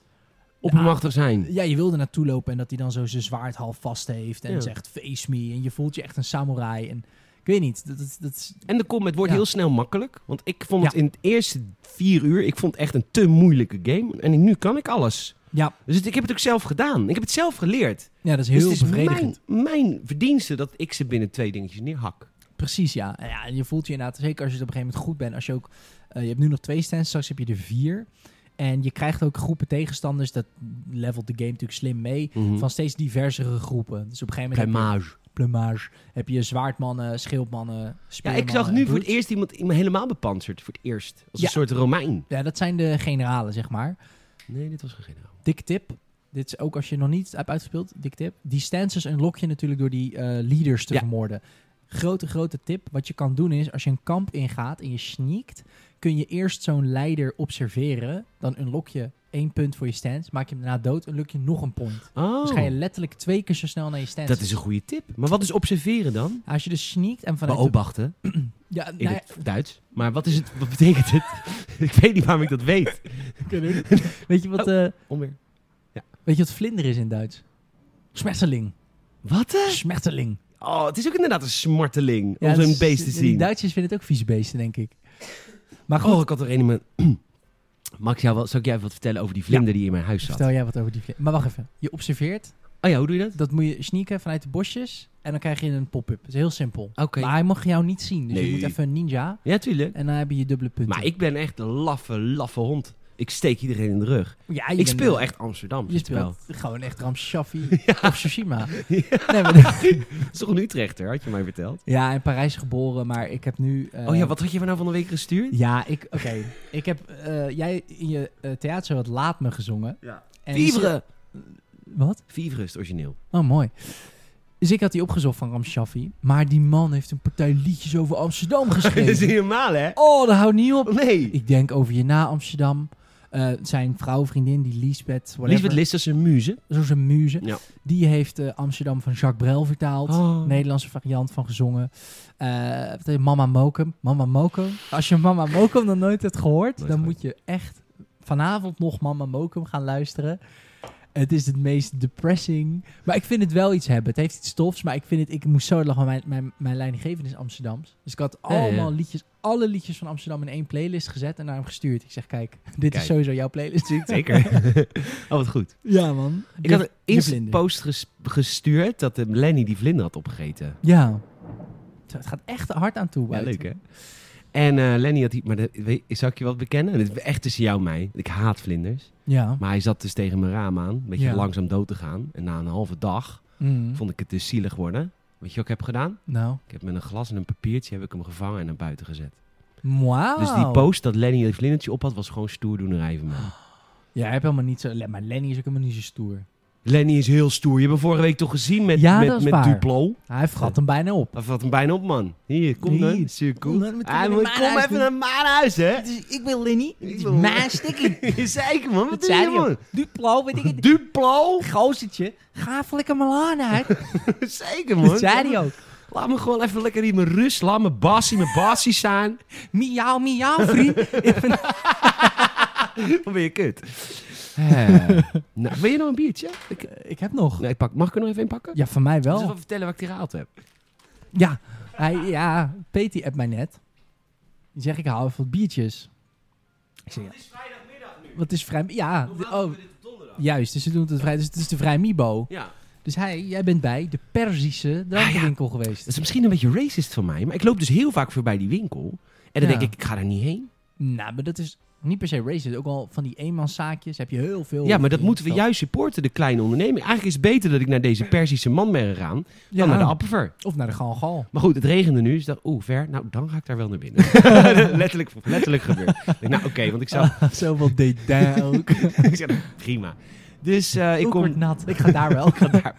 S1: Oppermachtig zijn.
S2: ja, je wil er naartoe lopen en dat hij dan zo zijn zwaard half vast heeft en
S1: Ja.
S2: zegt face me en je voelt je echt een samurai en ik weet niet, dat, dat, dat is
S1: En de combat wordt
S2: Ja.
S1: heel snel makkelijk. Want ik vond het in het eerste vier uur... Ik vond het echt een te moeilijke game. En nu kan ik alles.
S2: ja,
S1: Dus het- ik heb het ook zelf gedaan. Ik heb het zelf geleerd.
S2: ja, dat is
S1: Dus
S2: heel
S1: het is
S2: bevredigend.
S1: mijn, mijn verdienste dat ik ze binnen twee dingetjes neerhak.
S2: Precies, ja. En, ja. en je voelt je inderdaad, zeker als je het op een gegeven moment goed bent, als je ook, eh, je hebt nu nog twee stands, straks heb je er vier. En je krijgt ook groepen tegenstanders, dat levelt de game natuurlijk slim mee.
S1: Mhm.
S2: van steeds diversere groepen. Dus op een gegeven moment heb
S1: Plumage.
S2: je, plumage, heb je zwaardmannen, schildmannen,
S1: Ja,
S2: speermannen.
S1: ik zag nu
S2: en
S1: voor het
S2: brutes.
S1: eerst iemand iemand helemaal bepanserd. Voor het eerst. Als
S2: Ja.
S1: een soort Romein.
S2: Ja, dat zijn de generalen, zeg maar.
S1: Nee, dit was geen generaal.
S2: Dikke tip. Dit is ook als je nog niet hebt uitgespeeld, dikke tip. Die stances unlock je natuurlijk door die eh, leaders te
S1: Ja.
S2: vermoorden. Grote, grote tip. Wat je kan doen is, als je een kamp ingaat en je sneakt, kun je eerst zo'n leider observeren. Dan unlock je één punt voor je stance. Maak je hem daarna dood, unlock je nog een point. Dus ga je
S1: Oh,
S2: letterlijk twee keer zo snel naar je stance.
S1: dat is een goede tip. Maar wat is observeren dan?
S2: Als je dus sneakt en vanuit... de-
S1: Beobachten.
S2: ja,
S1: In
S2: nou ja,
S1: het Duits. Maar wat, is het, wat betekent het? *laughs* ik weet niet waarom ik dat weet.
S2: *laughs* Weet je wat, eh,
S1: Onweer.
S2: weet je wat vlinder is in Duits? Smerteling.
S1: Wat? hè?
S2: Smerteling.
S1: Oh, het is ook inderdaad een smarteling om
S2: Ja,
S1: zo'n
S2: dus
S1: beest te
S2: die- Die
S1: zien.
S2: Duitsers vinden het ook vieze beesten, denk ik. Maar goed,
S1: Oh, ik had er een in mijn... *clears throat* Max, jou, wat- zal ik jij even wat vertellen over die vlinder die in mijn huis zat?
S2: *laughs* vertel jij wat over die vlinder. Maar wacht even. Je observeert,
S1: Oh ja, hoe doe je dat?
S2: dat moet je sneaken vanuit de bosjes en dan krijg je een pop-up. Dat is heel simpel.
S1: Oké.
S2: Maar hij mag jou niet zien, dus je
S1: Nee.
S2: moet even een ninja
S1: Ja, tuurlijk.
S2: en dan heb je je dubbele punten.
S1: Maar ik ben echt een laffe, laffe hond. Ik steek iedereen in de rug.
S2: ja, je
S1: Ik
S2: bent-
S1: speel echt Amsterdam.
S2: Je
S1: spel.
S2: speelt gewoon echt
S1: *laughs*
S2: Ram Shaffi of Tsushima. Nee, maar- *laughs*
S1: Dat is toch een Utrechter, had je mij verteld?
S2: ja, in Parijs geboren, maar ik heb nu... eh,
S1: oh ja, wat had je me nou van de week gestuurd?
S2: Ja, ik, oké. ik heb, eh, jij in je eh, theater had Laat Me gezongen.
S1: Ja.
S2: En
S1: Vivre!
S2: dus- wat?
S1: Vivre is het
S2: *laughs*
S1: origineel.
S2: Oh, mooi. Dus ik had die opgezocht van Ram Shaffi. Maar die man heeft een partij liedjes over Amsterdam
S1: Dat is
S2: geschreven.
S1: niet normaal, hè?
S2: Oh, dat houdt niet op.
S1: Nee.
S2: Ik denk over je na Amsterdam. Eh, zijn vrouw, vriendin, die Lisbeth, whatever.
S1: Liesbeth List is een muze.
S2: Zo'n zijn muze.
S1: Ja.
S2: Die heeft eh, Amsterdam van Jacques Brel vertaald.
S1: Oh.
S2: Nederlandse variant van gezongen. Eh, wat heet Mama Mokum. Mama Mokum. Als je Mama Mokum nog nooit hebt gehoord,
S1: Nooit
S2: dan
S1: gehoord.
S2: moet je echt vanavond nog Mama Mokum gaan luisteren. Het is het meest depressing. Maar ik vind het wel iets hebben. Het heeft iets tofs, maar ik vind het... Ik moest zo lachen, want mijn, mijn, mijn leidinggevende is Amsterdams. Dus ik had
S1: ja.
S2: allemaal liedjes, alle liedjes van Amsterdam in één playlist gezet en naar hem gestuurd. Ik zeg, kijk, *laughs* dit
S1: Kijk.
S2: is sowieso jouw
S1: *laughs*
S2: playlist.
S1: Zeker. oh, wat goed.
S2: Ja, man.
S1: Ik had een
S2: Je
S1: instant
S2: vlinder.
S1: post ges- gestuurd dat eh, Lenny die vlinder had opgegeten.
S2: Ja. Zo, Het gaat echt hard aan toe.
S1: Ja,
S2: buiten.
S1: leuk hè? En eh, Lenny had die... Maar dat- weet- zal ik je wat bekennen? En Dit is echt tussen jou en mij. Ik haat vlinders.
S2: Ja.
S1: Maar hij zat dus tegen mijn raam aan. Een beetje
S2: Ja.
S1: langzaam dood te gaan. En na een halve dag
S2: Mm.
S1: vond ik het dus zielig worden. Weet je wat ik heb gedaan?
S2: Nou.
S1: Ik heb met een glas en een papiertje heb ik hem gevangen en naar buiten gezet.
S2: Wauw.
S1: Dus die post dat Lenny dat vlindertje op had, was gewoon stoerdoenerij van mij.
S2: *gasps* Ja, hij heeft helemaal niet zo... le- Maar Lenny is ook helemaal niet zo stoer.
S1: Lenny is heel stoer. Je hebt hem vorige week toch gezien met,
S2: Ja, dat
S1: met,
S2: is
S1: met
S2: waar.
S1: Duplo?
S2: Hij vrat hem bijna op.
S1: Of had hem bijna op, man. Hier, kom
S2: Hier.
S1: dan. Is hier cool.
S2: Kom dan, meteen
S1: Hij
S2: naar
S1: moet-
S2: mijn
S1: kom
S2: huis
S1: even
S2: doen.
S1: naar mijn huis,
S2: *laughs*
S1: hè.
S2: ik wil Lenny.
S1: Dit is wil- mijn
S2: *laughs*
S1: *laughs*
S2: stikkie.
S1: Zeker, man. Wat
S2: Dat
S1: doe je,
S2: zei hij
S1: man?
S2: ook. Duplo, weet ik het. *laughs*
S1: Duplo?
S2: Gozertje. Ga even lekker Milaan uit.
S1: *laughs* Zeker, man.
S2: *laughs* Dat zei hij ook.
S1: Laat me gewoon even lekker in mijn rust. Laat me bassie, mijn bassie
S2: *laughs*
S1: zijn.
S2: Miauw, miauw, *laughs* vriend.
S1: Dan ben je kut. Eh, nou, wil je nog een biertje? Ik,
S2: ik heb nog.
S1: nee, ik pak, mag ik er nog even een pakken?
S2: Ja, van mij
S1: Ik zal
S2: wel.
S1: even vertellen wat ik hier gehaald heb.
S2: Ja. Hij, ja, Peti appt mij net. Die zegt, ik hou even wat biertjes. Ik zeg, ja.
S1: is vrijdagmiddag nu.
S2: Wat is vrij... Ja. d- Oh,
S1: dit op donderdag?
S2: juist. Dus ze doen het vrij... Dus het is de vrij Mibo.
S1: Ja.
S2: Dus hij, jij bent bij de Perzische drankenwinkel geweest.
S1: Dat is misschien een beetje racist van mij, maar ik loop dus heel vaak voorbij die winkel. En dan
S2: Ja.
S1: denk ik, ik ga daar niet heen.
S2: Nou, maar dat is niet per se racist. Ook al van die eenmanszaakjes heb je heel veel.
S1: ja, maar dat
S2: in
S1: moeten we
S2: de
S1: juist supporten, de kleine onderneming. Eigenlijk is het beter dat ik naar deze Persische man ben gegaan
S2: stad.
S1: dan naar de
S2: Ja,
S1: Appenver.
S2: Of naar de Galgal.
S1: *laughs* Maar goed, het regende nu. Dus ik dacht, oeh, ver. Nou, dan ga ik daar wel naar
S2: *laughs*
S1: binnen. letterlijk, letterlijk gebeurd. Ik dacht, nou, oké, want ik
S2: Oh.
S1: zou...
S2: Zoveel *laughs* detail ook.
S1: *laughs* ik zei, nou, prima. Dus eh, ik
S2: ik
S1: kom...
S2: word nat. Ik ga daar wel.
S1: *laughs* Ik ga daar.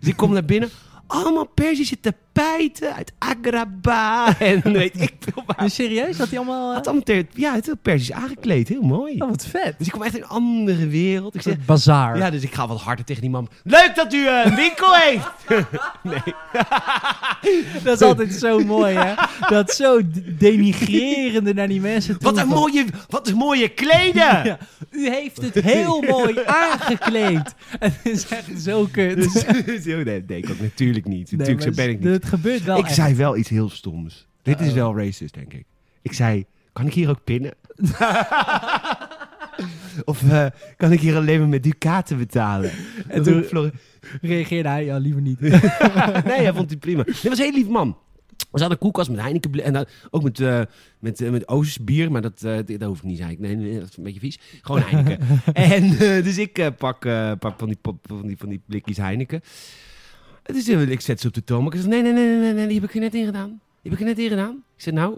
S1: Dus ik kom naar binnen. Allemaal Persische tapijten uit Agraba. *laughs* En weet ik veel waar.
S2: Dus serieus? Dat hij allemaal... eh,
S1: Had allemaal ter- ja, het is heel Persisch aangekleed. Heel mooi.
S2: Oh, wat vet.
S1: Dus ik kom echt in een andere wereld. Ik
S2: Een
S1: zeg,
S2: soort bazaar.
S1: ja, dus ik ga wat harder tegen die man. Leuk dat u eh, een winkel heeft!
S2: *laughs* Dat is altijd zo mooi, hè?
S1: *laughs*
S2: Dat zo d- denigrerende naar die mensen toe.
S1: Wat een
S2: Van,
S1: mooie, wat een mooie kleden! *laughs*
S2: Ja, u heeft het heel mooi aangekleed. En het is echt zo kut.
S1: Dus, dus, nee, dat deed ik ook natuurlijk niet.
S2: Nee,
S1: natuurlijk,
S2: eh, maar
S1: zo ben ik niet.
S2: Het gebeurt wel
S1: ik
S2: echt. Oh.
S1: zei wel iets heel stoms. Dit is
S2: Uh-oh.
S1: wel racist, denk ik. Ik zei, kan ik hier ook
S2: *laughs*
S1: pinnen? of eh, kan ik hier alleen maar met ducaten betalen? En
S2: toen-
S1: toen Flor-
S2: Reageerde hij, ja, liever
S1: *laughs*
S2: niet.
S1: nee, hij vond het prima. Dit was een heel lief man. We hadden koelkast met Heineken ble- en dan ook met, eh met, eh, met Oosters bier, maar dat, eh, dat hoef ik niet, zei ik. Nee, nee, dat is een beetje vies. Gewoon Heineken. en eh, dus ik eh, pak, eh, pak van, die, pop- van, die, van die blikjes Heineken. Het is, eh, ik zet ze op de toonbank. Ik zeg, nee, nee, nee, nee, nee, nee, die heb ik er net in gedaan. Die heb ik er net in gedaan. Ik zeg, nou,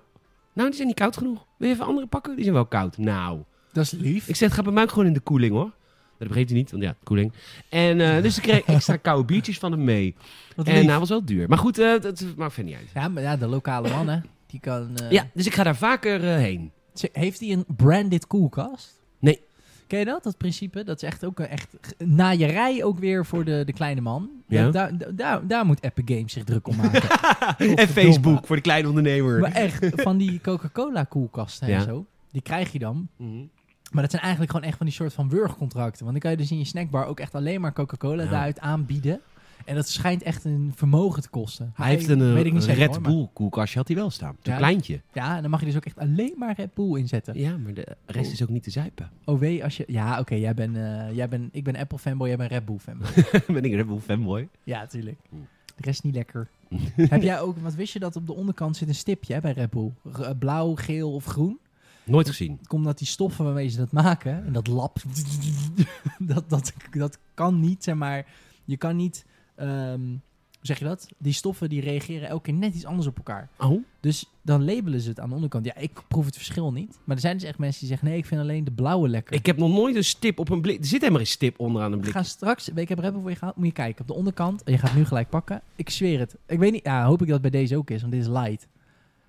S1: nou, die zijn niet koud genoeg. Wil je even andere pakken? Die zijn wel koud. Nou,
S2: Dat is lief.
S1: ik zeg, het gaat bij mij ook gewoon in de koeling, hoor. Dat begreep hij niet, want ja, koeling. En eh, dus ik kreeg extra koude biertjes van hem mee.
S2: Wat lief.
S1: En hij was wel duur. Maar goed, eh dat maakt verder niet uit.
S2: Ja, maar ja, de lokale man, hè? Die kan... eh,
S1: Ja, dus ik ga daar vaker eh, heen.
S2: Ze- Heeft hij een branded koelkast?
S1: Nee.
S2: Ken je dat, dat principe? Dat is echt ook een echt g- naaierij ook weer voor de, de kleine man.
S1: Ja.
S2: Dat- Daar, daar, daar, daar moet Epic Games zich druk
S1: *laughs*
S2: om maken.
S1: en Facebook voor de kleine ondernemer.
S2: maar echt, van die Coca-Cola koelkasten
S1: Ja.
S2: en zo, die krijg je dan.
S1: Mhm.
S2: Maar dat zijn eigenlijk gewoon echt van die soort van wurgcontracten. Want dan kan je dus in je snackbar ook echt alleen maar Coca-Cola
S1: Ja.
S2: daaruit aanbieden. En dat schijnt echt een vermogen te kosten.
S1: Hij heeft een, eh,
S2: weet ik niet
S1: een
S2: zeker,
S1: Red
S2: hoor,
S1: Bull koelkastje, had hij wel staan. Een
S2: Ja.
S1: kleintje.
S2: maar- ja, en dan mag je dus ook echt alleen maar Red Bull inzetten.
S1: Ja, maar de Oh. rest is ook niet te zuipen.
S2: OW als je... Ja, oké, jij bent... eh, jij ben, ik ben Apple fanboy, jij bent Red Bull fanboy.
S1: *laughs* ben ik een Red Bull fanboy?
S2: ja, tuurlijk.
S1: Mm.
S2: De rest niet lekker. Heb jij ook... Want wist je dat op de onderkant zit een stipje hè, bij Red Bull? R- eh, blauw, geel of groen?
S1: Nooit gezien.
S2: Het komt omdat die stoffen waarmee ze dat maken... En dat lab... *laughs* dat, dat, dat kan niet, zeg maar... Je kan niet... ehm, hoe zeg je dat? Die stoffen die reageren elke keer net iets anders op elkaar.
S1: Oh?
S2: Dus dan labelen ze het aan de onderkant. Ja, ik proef het verschil niet. Maar er zijn dus echt mensen die zeggen... Nee, ik vind alleen de blauwe lekker.
S1: Ik heb nog nooit een stip op een blik. Er zit helemaal een stip onderaan een
S2: We
S1: blik.
S2: gaan straks, ik heb Rebel voor je gehaald, moet je kijken. Op de onderkant, en je gaat nu gelijk pakken. Ik zweer het. Ik weet niet, ja, hoop ik dat het bij deze ook is, want dit is light.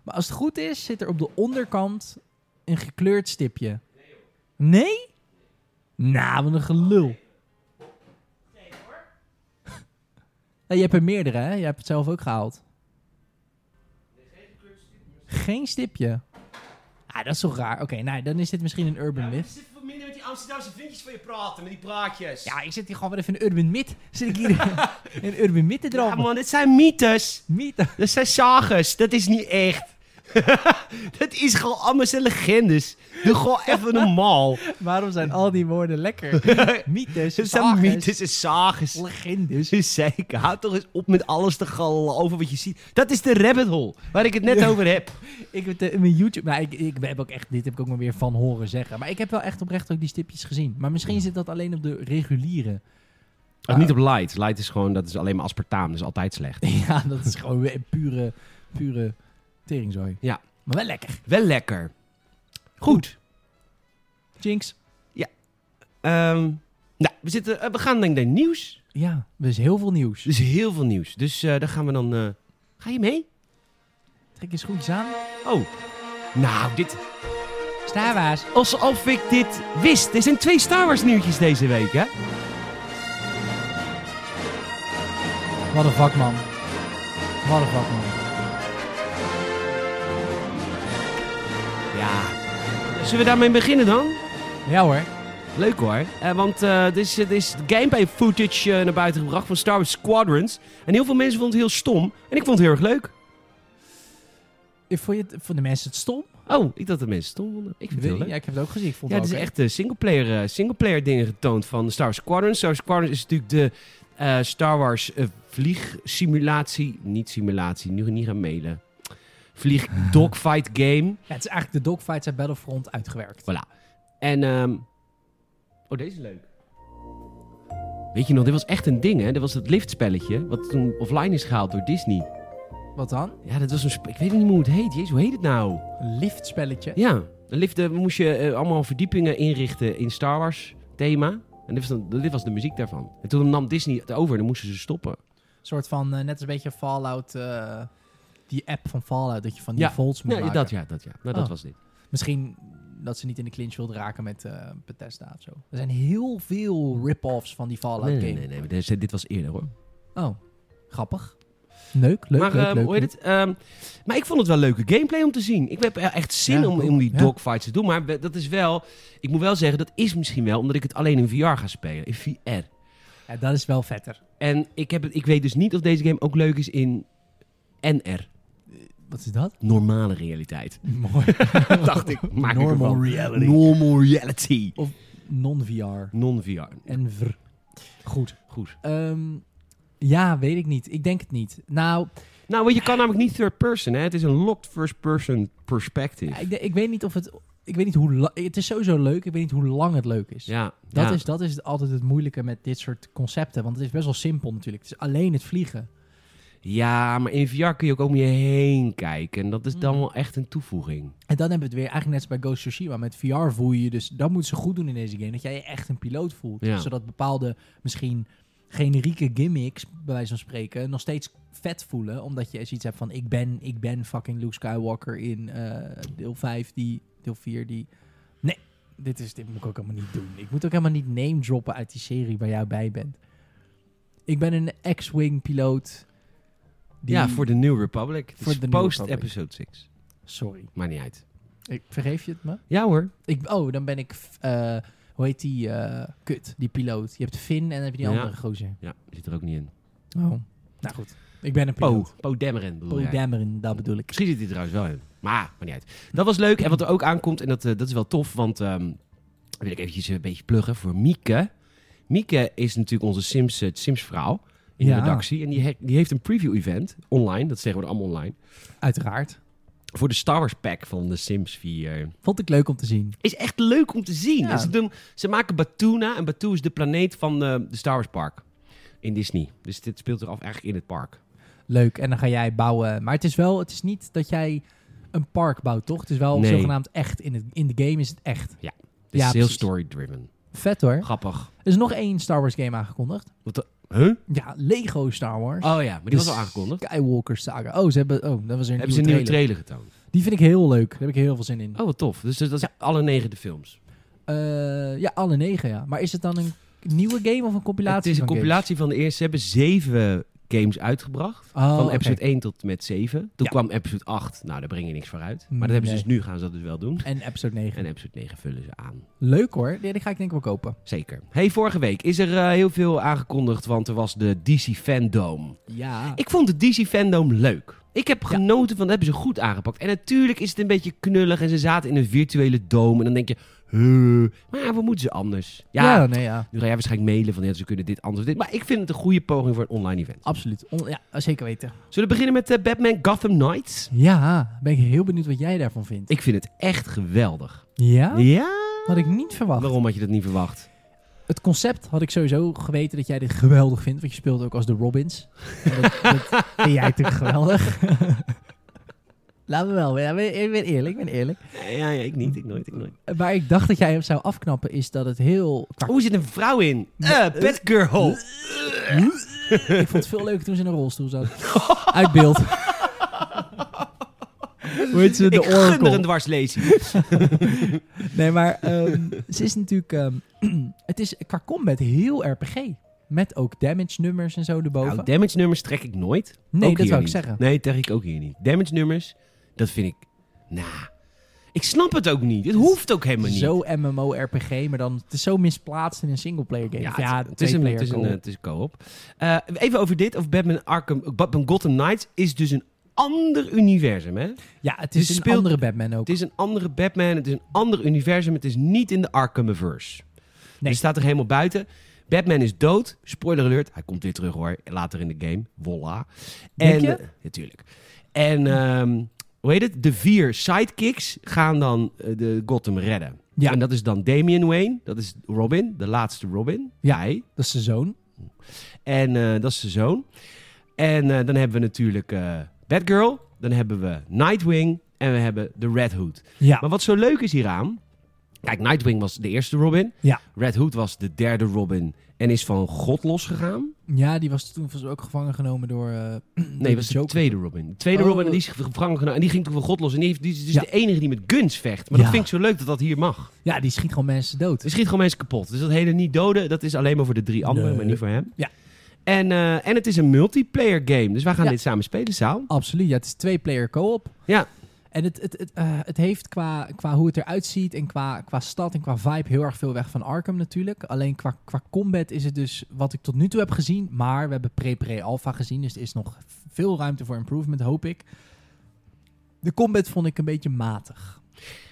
S2: Maar als het goed is, zit er op de onderkant een gekleurd stipje. Nee? Nou, wat een gelul. *laughs* Nee hoor. Je hebt er meerdere, hè? Je hebt het zelf ook gehaald. Geen stipje. Ah, dat is toch raar. Oké, nou, dan is dit misschien een urban myth.
S1: zit wat minder met die Amsterdamse vriendjes van je praten, met die praatjes.
S2: Ja, ik zit hier gewoon weer even in Urban Mid. Zit ik
S1: *laughs*
S2: hier in Urban Mid te
S1: Ja,
S2: dromen?
S1: man, dit zijn mythes.
S2: Mid.
S1: Dat zijn sagas. Dat is niet echt. *laughs* dat is gewoon allemaal zijn legendes. Doe gewoon *laughs* even normaal.
S2: Waarom zijn al die woorden
S1: *laughs*
S2: lekker? Mythes,
S1: Ze zijn
S2: sagas,
S1: mythes en sages.
S2: legendes.
S1: Dus zeker, houd toch eens op met alles te gallen over wat je ziet. Dat is de rabbit hole, waar ik het net over heb.
S2: Ik heb het, eh, mijn YouTube... Maar ik, ik heb ook echt... Dit heb ik ook maar weer van horen zeggen. Maar ik heb wel echt oprecht ook die stipjes gezien. Maar misschien zit dat alleen op de reguliere. *laughs*
S1: Oh, niet op light. Light is gewoon, dat is alleen maar aspartaam, dat is altijd slecht.
S2: Ja, dat is gewoon weer pure, pure teringzooi.
S1: Ja.
S2: Maar wel lekker.
S1: Wel lekker. Goed.
S2: Jinx.
S1: Ehm, nou, we, zitten, eh, we gaan denk ik naar nieuws.
S2: Ja, dus heel veel nieuws.
S1: Dus heel veel nieuws. Dus eh, daar gaan we dan... eh, Ga je mee?
S2: Trek je schoentjes aan.
S1: Oh. Nou, dit...
S2: Stawaas.
S1: Alsof ik dit wist. Er zijn twee Star Wars nieuwtjes deze week, hè?
S2: Wat een vak, man. Wat een vak, man.
S1: Ja. Zullen we daarmee beginnen dan?
S2: Ja hoor.
S1: Leuk hoor. Eh, want eh, er is, er is gameplay footage eh, naar buiten gebracht van Star Wars Squadrons. En heel veel mensen vonden het heel stom. En ik vond het heel erg leuk.
S2: Vond je het, voor de mensen het stom?
S1: Oh, ik dacht dat mensen het stom vonden. Ik vind het
S2: Weet-
S1: heel leuk.
S2: Ja, ik heb het ook gezien. Ik vond
S1: Ja,
S2: het
S1: het is
S2: ook
S1: echt eh, singleplayer, eh, singleplayer dingen getoond van Star Wars Squadron. Star Wars Squadron is natuurlijk de, eh, Star Wars eh, vliegsimulatie. Niet simulatie, nu niet gaan mailen. Vlieg dogfight game.
S2: Ja, het is eigenlijk de dogfights uit Battlefront uitgewerkt.
S1: Voilà. En, ehm, oh, deze is leuk. Weet je nog, dit was echt een ding, hè? Dit was het liftspelletje, wat toen offline is gehaald door Disney.
S2: Wat dan?
S1: Ja, dat was een... sp- Ik weet niet meer hoe het heet. Jezus, hoe heet het nou?
S2: Een liftspelletje.
S1: Ja, een lift eh, moest je eh, allemaal verdiepingen inrichten in Star Wars thema. En dit was, dan, dit was de muziek daarvan. En toen nam Disney het over en dan moesten ze stoppen.
S2: Een soort van, eh, net als een beetje Fallout, eh, die app van Fallout, dat je van die
S1: Ja.
S2: folds moet
S1: Nee,
S2: maken.
S1: dat ja, dat ja. Nou, dat
S2: Oh.
S1: was dit.
S2: Misschien dat ze niet in de clinch wilde raken met eh Bethesda of zo. Er zijn heel veel rip-offs van die Fallout
S1: Nee, nee,
S2: game.
S1: nee, nee, maar deze- dit was eerder hoor.
S2: Oh, grappig. Leuk, leuk,
S1: maar
S2: leuk,
S1: ehm,
S2: leuk.
S1: hoe heet het? Ehm, maar ik vond het wel leuke gameplay om te zien. Ik heb e- echt zin
S2: Ja,
S1: om,
S2: cool.
S1: om die
S2: Ja.
S1: dogfights te doen. Maar we- dat is wel, ik moet wel zeggen, dat is misschien wel omdat ik het alleen in VR ga spelen. In VR.
S2: Ja, dat is wel vetter.
S1: En ik, heb het, ik weet dus niet of deze game ook leuk is in NR.
S2: Wat is dat?
S1: Normale realiteit.
S2: *laughs* Mooi.
S1: *laughs* Dacht ik. Maak ik
S2: Normal
S1: ervan.
S2: reality.
S1: Normal reality.
S2: Non-VR.
S1: Non-VR.
S2: En vr. Goed.
S1: Goed.
S2: Ehm, ja, weet ik niet. Ik denk het niet. Nou,
S1: Nou, want je kan namelijk niet third person, hè? Het is een locked first person perspective.
S2: ik, de- ik weet niet of het... Ik weet niet hoe... la- Het is sowieso leuk. Ik weet niet hoe lang het leuk is.
S1: Ja.
S2: Dat,
S1: ja.
S2: Is, dat is altijd het moeilijke met dit soort concepten. Want het is best wel simpel natuurlijk. Het is alleen het vliegen.
S1: Ja, maar in VR kun je ook om je heen kijken. En dat is
S2: Hmm.
S1: dan wel echt een toevoeging.
S2: En dan hebben we het weer eigenlijk net als bij Ghost of Tsushima. Met VR voel je je dus... Dat moeten ze goed doen in deze game. Dat jij je echt een piloot voelt.
S1: Ja.
S2: Zodat bepaalde misschien generieke gimmicks, bij wijze van spreken, nog steeds vet voelen. Omdat je eens iets hebt van... Ik ben, ik ben fucking Luke Skywalker in eh, deel 5, die, deel 4, die... Nee, dit, is, dit moet ik ook helemaal niet doen. Ik moet ook helemaal niet name droppen uit die serie waar jij bij bent. Ik ben een X-Wing piloot. die-
S1: Ja, voor de New Republic.
S2: Voor
S1: Voor
S2: de
S1: de
S2: New
S1: post
S2: Republic.
S1: episode 6.
S2: Sorry,
S1: Maakt niet uit.
S2: ik, vergeef je het me?
S1: Ja hoor.
S2: Ik, oh, dan ben ik... f- eh, hoe heet die eh, kut, die piloot? Je hebt Finn en dan heb je die
S1: Ja.
S2: andere gozer.
S1: Ja, zit er ook niet in.
S2: Oh. Nou goed. Ik ben een
S1: Po.
S2: piloot.
S1: Po Dameron bedoel
S2: Poe
S1: jij.
S2: Dameron, dat bedoel ik.
S1: Misschien zit hij er trouwens wel in. Maar, maakt niet uit. Dat was leuk. En wat er ook aankomt, en dat, eh, dat is wel tof, want... ehm, dan wil ik eventjes een beetje pluggen voor Mieke. Mieke is natuurlijk onze Sims, eh, Sims-vrouw in
S2: Ja.
S1: de redactie. En die, he- die heeft een preview-event online. Dat is tegenwoordig allemaal online.
S2: Uiteraard.
S1: Voor de Star Wars pack van de Sims 4.
S2: Vond ik leuk om te zien.
S1: Is echt leuk om te zien.
S2: Ja.
S1: En ze, doen, ze maken Batuna. En Batu is de planeet van eh, de Star Wars park. In Disney. Dus dit speelt zich af eigenlijk in het park.
S2: Leuk. En dan ga jij bouwen. Maar het is wel... Het is niet dat jij een park bouwt, toch? Het is wel
S1: Nee.
S2: zogenaamd echt. In, het, in de game is het echt.
S1: Dus
S2: Ja,
S1: het is heel
S2: precies.
S1: story-driven.
S2: Vet hoor.
S1: Grappig.
S2: Er is nog één Star Wars game aangekondigd.
S1: Wat de- huh?
S2: Ja, Lego Star Wars.
S1: Oh ja, maar die was al aangekondigd.
S2: Skywalker Saga. Oh, ze hebben... Oh, dat was er een,
S1: Hebben ze een
S2: nieuwe
S1: nieuwe
S2: trailer.
S1: trailer getoond.
S2: Die vind ik heel leuk. Daar heb ik heel veel zin in.
S1: Oh, wat tof. Dus dat is alle negen de films.
S2: Eh, ja, alle negen, ja. Maar is het dan een nieuwe game of een compilatie?
S1: het is een
S2: van games?
S1: compilatie van de eerste. Ze hebben zeven eh, games uitgebracht.
S2: Oh,
S1: van
S2: oké.
S1: episode 1 tot met 7. Toen
S2: Ja.
S1: kwam episode 8. Nou, daar breng je niks voor uit. Maar dat hebben ze
S2: Nee.
S1: dus nu gaan ze dat dus wel doen.
S2: En episode 9.
S1: En episode 9 vullen ze aan.
S2: Leuk hoor. Ja, die ga ik denk ik wel kopen.
S1: Zeker. Hey, vorige week is er eh, heel veel aangekondigd, want er was de DC Fandom.
S2: Ja.
S1: Ik vond de DC Fandom leuk. Ik heb genoten van, dat hebben ze goed aangepakt. En natuurlijk is het een beetje knullig en ze zaten in een virtuele dome. En dan denk je, huh, maar we moeten ze anders. Ja,
S2: ja. nee, ja.
S1: nu ga jij waarschijnlijk mailen van, ja, ze kunnen dit anders of dit. Maar ik vind het een goede poging voor een online event.
S2: Absoluut. On- ja, zeker weten.
S1: Zullen we beginnen met eh, Batman Gotham Knights?
S2: Ja, ben ik heel benieuwd wat jij daarvan vindt.
S1: Ik vind het echt geweldig.
S2: Ja?
S1: Oh. Ja?
S2: Had ik niet verwacht.
S1: Waarom had je dat niet verwacht?
S2: Het concept had ik sowieso geweten dat jij dit geweldig vindt. Want je speelt ook als de Robins. En
S1: *laughs*
S2: dat, dat vind jij natuurlijk geweldig. *laughs* Laten we wel. Ik ben, ik ben eerlijk, ik ben eerlijk.
S1: Ja, ja, ja, ik niet. Ik nooit, ik nooit.
S2: Waar ik dacht dat jij hem zou afknappen is dat het heel...
S1: Hoe zit een vrouw in? Eh, Batgirl.
S2: Ik vond het veel leuker toen ze in een rolstoel zat. *laughs* Uit beeld. Hoe heet ze? De
S1: ik gun er een
S2: Oracle.
S1: dwarslesie.
S2: Nee, maar ehm, ze is natuurlijk... ehm, *clears throat* het is qua combat heel RPG. Met ook damage nummers en zo erboven.
S1: *laughs* Nou, damage nummers trek ik nooit.
S2: nee,
S1: Ook
S2: dat
S1: hier
S2: wou ik
S1: niet.
S2: zeggen.
S1: Nee, trek ik ook hier niet. Damage nummers, dat vind ik... Nou, ik snap het ook niet. Het hoeft ook helemaal niet.
S2: Zo MMORPG, maar dan... Het is zo misplaatst in een singleplayer game.
S1: ja,
S2: Of
S1: het, het is een,
S2: tweeplayer
S1: het is een,
S2: co-op.
S1: eh, het is een co-op. Eh, even over dit, of Batman, Arkham, Batman Gotham Knights is dus een ander universum, hè?
S2: ja, het
S1: dus
S2: is een
S1: speelt-
S2: andere Batman ook.
S1: Het is een andere Batman, het is een ander universum. Het is niet in de Arkhamverse.
S2: Nee.
S1: Die staat er helemaal buiten. Batman is dood. Spoiler alert. Hij komt weer terug hoor. Later in de game. Voila.
S2: Denk je?
S1: Natuurlijk. en ehm, hoe heet het? De vier sidekicks gaan dan eh, de Gotham redden.
S2: Ja.
S1: En dat is dan Damian Wayne. Dat is Robin. De laatste Robin.
S2: Ja.
S1: Hij.
S2: Dat is zijn zoon.
S1: En eh, dat is zijn zoon. En eh, dan hebben we natuurlijk eh, Batgirl. Dan hebben we Nightwing. En we hebben de Red Hood.
S2: Ja.
S1: Maar wat zo leuk is hieraan. Kijk, Nightwing was de eerste Robin.
S2: Ja.
S1: Red Hood was de derde Robin. En is van God losgegaan.
S2: Ja, die was toen volgens mij ook gevangen genomen door... eh,
S1: Nee, was de
S2: Joker.
S1: tweede Robin. De tweede
S2: Oh.
S1: Robin en die is gevangen genomen. En die ging toen van God los. En die, heeft, die is dus
S2: Ja.
S1: de enige die met guns vecht. Maar
S2: Ja.
S1: dat vind ik zo leuk dat dat hier mag.
S2: Ja, die schiet gewoon mensen dood.
S1: Het schiet gewoon mensen kapot. Dus dat hele niet doden, dat is alleen maar voor de drie anderen,
S2: Nee.
S1: maar niet voor hem.
S2: Ja.
S1: En, eh, en het is een multiplayer game. Dus wij gaan
S2: Ja.
S1: dit samen spelen, Saal.
S2: Absoluut. Ja, het is twee-player co-op.
S1: Ja.
S2: En het, het, het, eh, het heeft qua, qua hoe het eruit ziet en qua, qua stad en qua vibe heel erg veel weg van Arkham natuurlijk. Alleen qua, qua combat is het dus wat ik tot nu toe heb gezien. Maar we hebben pre-pre-alpha gezien, dus er is nog veel ruimte voor improvement, hoop ik. De combat vond ik een beetje matig.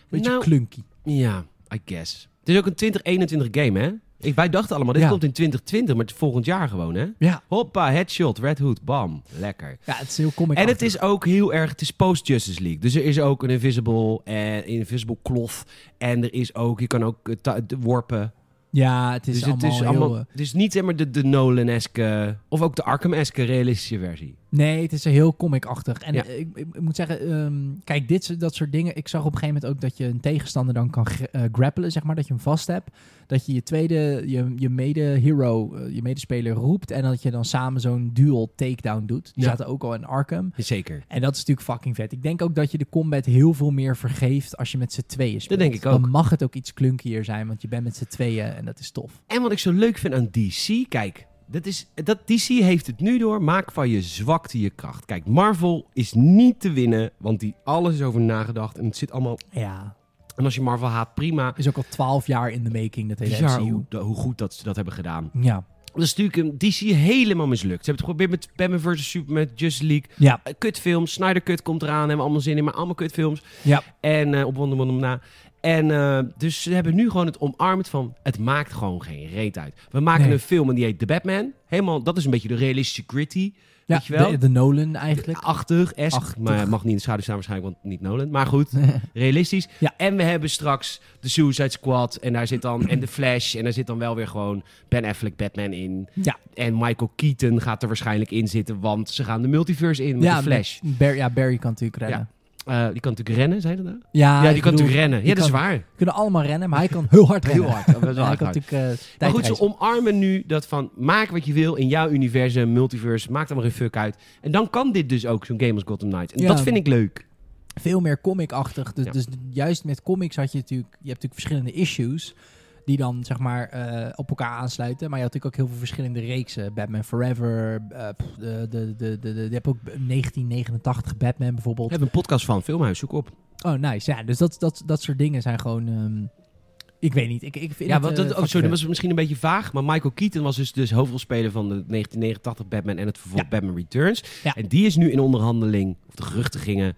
S2: Beetje
S1: Nou,
S2: klunky.
S1: Ja, I guess. Het is ook een 2021 game, hè? Ik, wij dachten allemaal, dit
S2: Ja.
S1: komt in 2020, maar het is volgend jaar gewoon, hè?
S2: Ja.
S1: Hoppa, headshot, Red Hood, bam. Lekker.
S2: ja, het is heel comic
S1: En het is ook heel erg, het is post-Justice League. Dus er is ook een invisible, eh, invisible cloth. En er is ook, je kan ook eh, ta- de- worpen.
S2: Ja, het is
S1: dus
S2: allemaal
S1: het is
S2: heel...
S1: allemaal,
S2: eh,
S1: dus niet zeg maar de, de Nolan-eske, of ook de Arkham-eske realistische versie.
S2: Nee, het is heel comic-achtig. En
S1: Ja.
S2: eh, ik, ik- ik moet zeggen, ehm, kijk, dit, soort- dat soort dingen. Ik zag op een gegeven moment ook dat je een tegenstander dan kan gr- eh, grappelen, zeg maar. Dat je hem vast hebt. Dat je je tweede, je, je mede-hero, eh, je medespeler roept. En dat je dan samen zo'n dual takedown doet. Die
S1: Ja.
S2: zaten ook al in Arkham.
S1: Zeker.
S2: En dat is natuurlijk fucking vet. Ik denk ook dat je de combat heel veel meer vergeeft als je met z'n tweeën speelt.
S1: denk ik ook.
S2: Dan mag het ook iets klunkier zijn, want je bent met z'n tweeën en dat is tof.
S1: En wat ik zo leuk vind aan DC, kijk, dat is, dat DC heeft het nu door. Maak van je zwakte je kracht. Kijk, Marvel is niet te winnen, want die alles is over nagedacht en het zit allemaal.
S2: Ja.
S1: En als je Marvel haat, prima.
S2: Is ook al twaalf jaar in de making, dat hele
S1: Bizar
S2: MCU.
S1: hoe, hoe goed dat ze dat hebben gedaan.
S2: Ja.
S1: Dat is natuurlijk een DC helemaal mislukt. Ze hebben het geprobeerd met Batman vs. Superman, Just League.
S2: Ja.
S1: Eh, Kutfilms, Snyder Cut komt eraan, hebben we allemaal zin in, maar allemaal kutfilms.
S2: Ja.
S1: En eh, op Wonder Woman na. En eh, dus ze hebben nu gewoon het omarmd van, het maakt gewoon geen reet uit. We maken
S2: Nee.
S1: een film en die heet The Batman. Helemaal, dat is een beetje de realistische gritty.
S2: Ja,
S1: weet je wel?
S2: De, de Nolan eigenlijk.
S1: Achtig, esk,
S2: Achtig.
S1: maar mag niet in de schaduw staan waarschijnlijk, want niet Nolan. Maar goed, realistisch.
S2: Ja.
S1: En we hebben straks de Suicide Squad en daar zit dan, en de Flash. En daar zit dan wel weer gewoon Ben Affleck Batman in.
S2: Ja,
S1: En Michael Keaton gaat er waarschijnlijk in zitten, want ze gaan de multiverse in met
S2: ja,
S1: de Flash.
S2: met Bar- ja, Barry kan natuurlijk rennen.
S1: Eh, die kan natuurlijk rennen, zei je dat nou?
S2: Ja,
S1: ja, die
S2: ik
S1: kan
S2: bedoel,
S1: natuurlijk rennen. Ja,
S2: die
S1: dat is
S2: kan-
S1: waar.
S2: kunnen allemaal rennen, maar hij kan heel hard rennen.
S1: Heel hard. *laughs* Dat is wel
S2: hij
S1: hard.
S2: kan natuurlijk eh
S1: Maar goed,
S2: tijdreizen.
S1: ze omarmen nu dat van maak wat je wil in jouw universum, multiverse, maakt allemaal geen fuck uit. En dan kan dit dus ook, zo'n game als Gotham Knights. En
S2: Ja.
S1: dat vind ik leuk.
S2: Veel meer comic-achtig. Dus,
S1: Ja.
S2: dus juist met comics had je natuurlijk... Je hebt natuurlijk verschillende issues... Die dan zeg maar eh, op elkaar aansluiten. Maar je had natuurlijk ook heel veel verschillende reeksen. Batman Forever. eh, pff, de, de, de, de, de- je hebt ook 1989 Batman
S1: We
S2: bijvoorbeeld.
S1: hebben een podcast van Filmhuis, zoek op.
S2: Oh, nice. Ja, dus dat, dat, dat soort dingen zijn gewoon. ehm, ik weet niet. Ik, ik vind
S1: Ja,
S2: het,
S1: want
S2: eh,
S1: dat, oh,
S2: fucking
S1: sorry, dat
S2: vet.
S1: was misschien een beetje vaag, maar Michael Keaton was dus, dus hoofdrolspeler van de 1989 Batman en het vervolg
S2: Ja.
S1: Batman Returns.
S2: Ja.
S1: En die is nu in onderhandeling, of de geruchten gingen,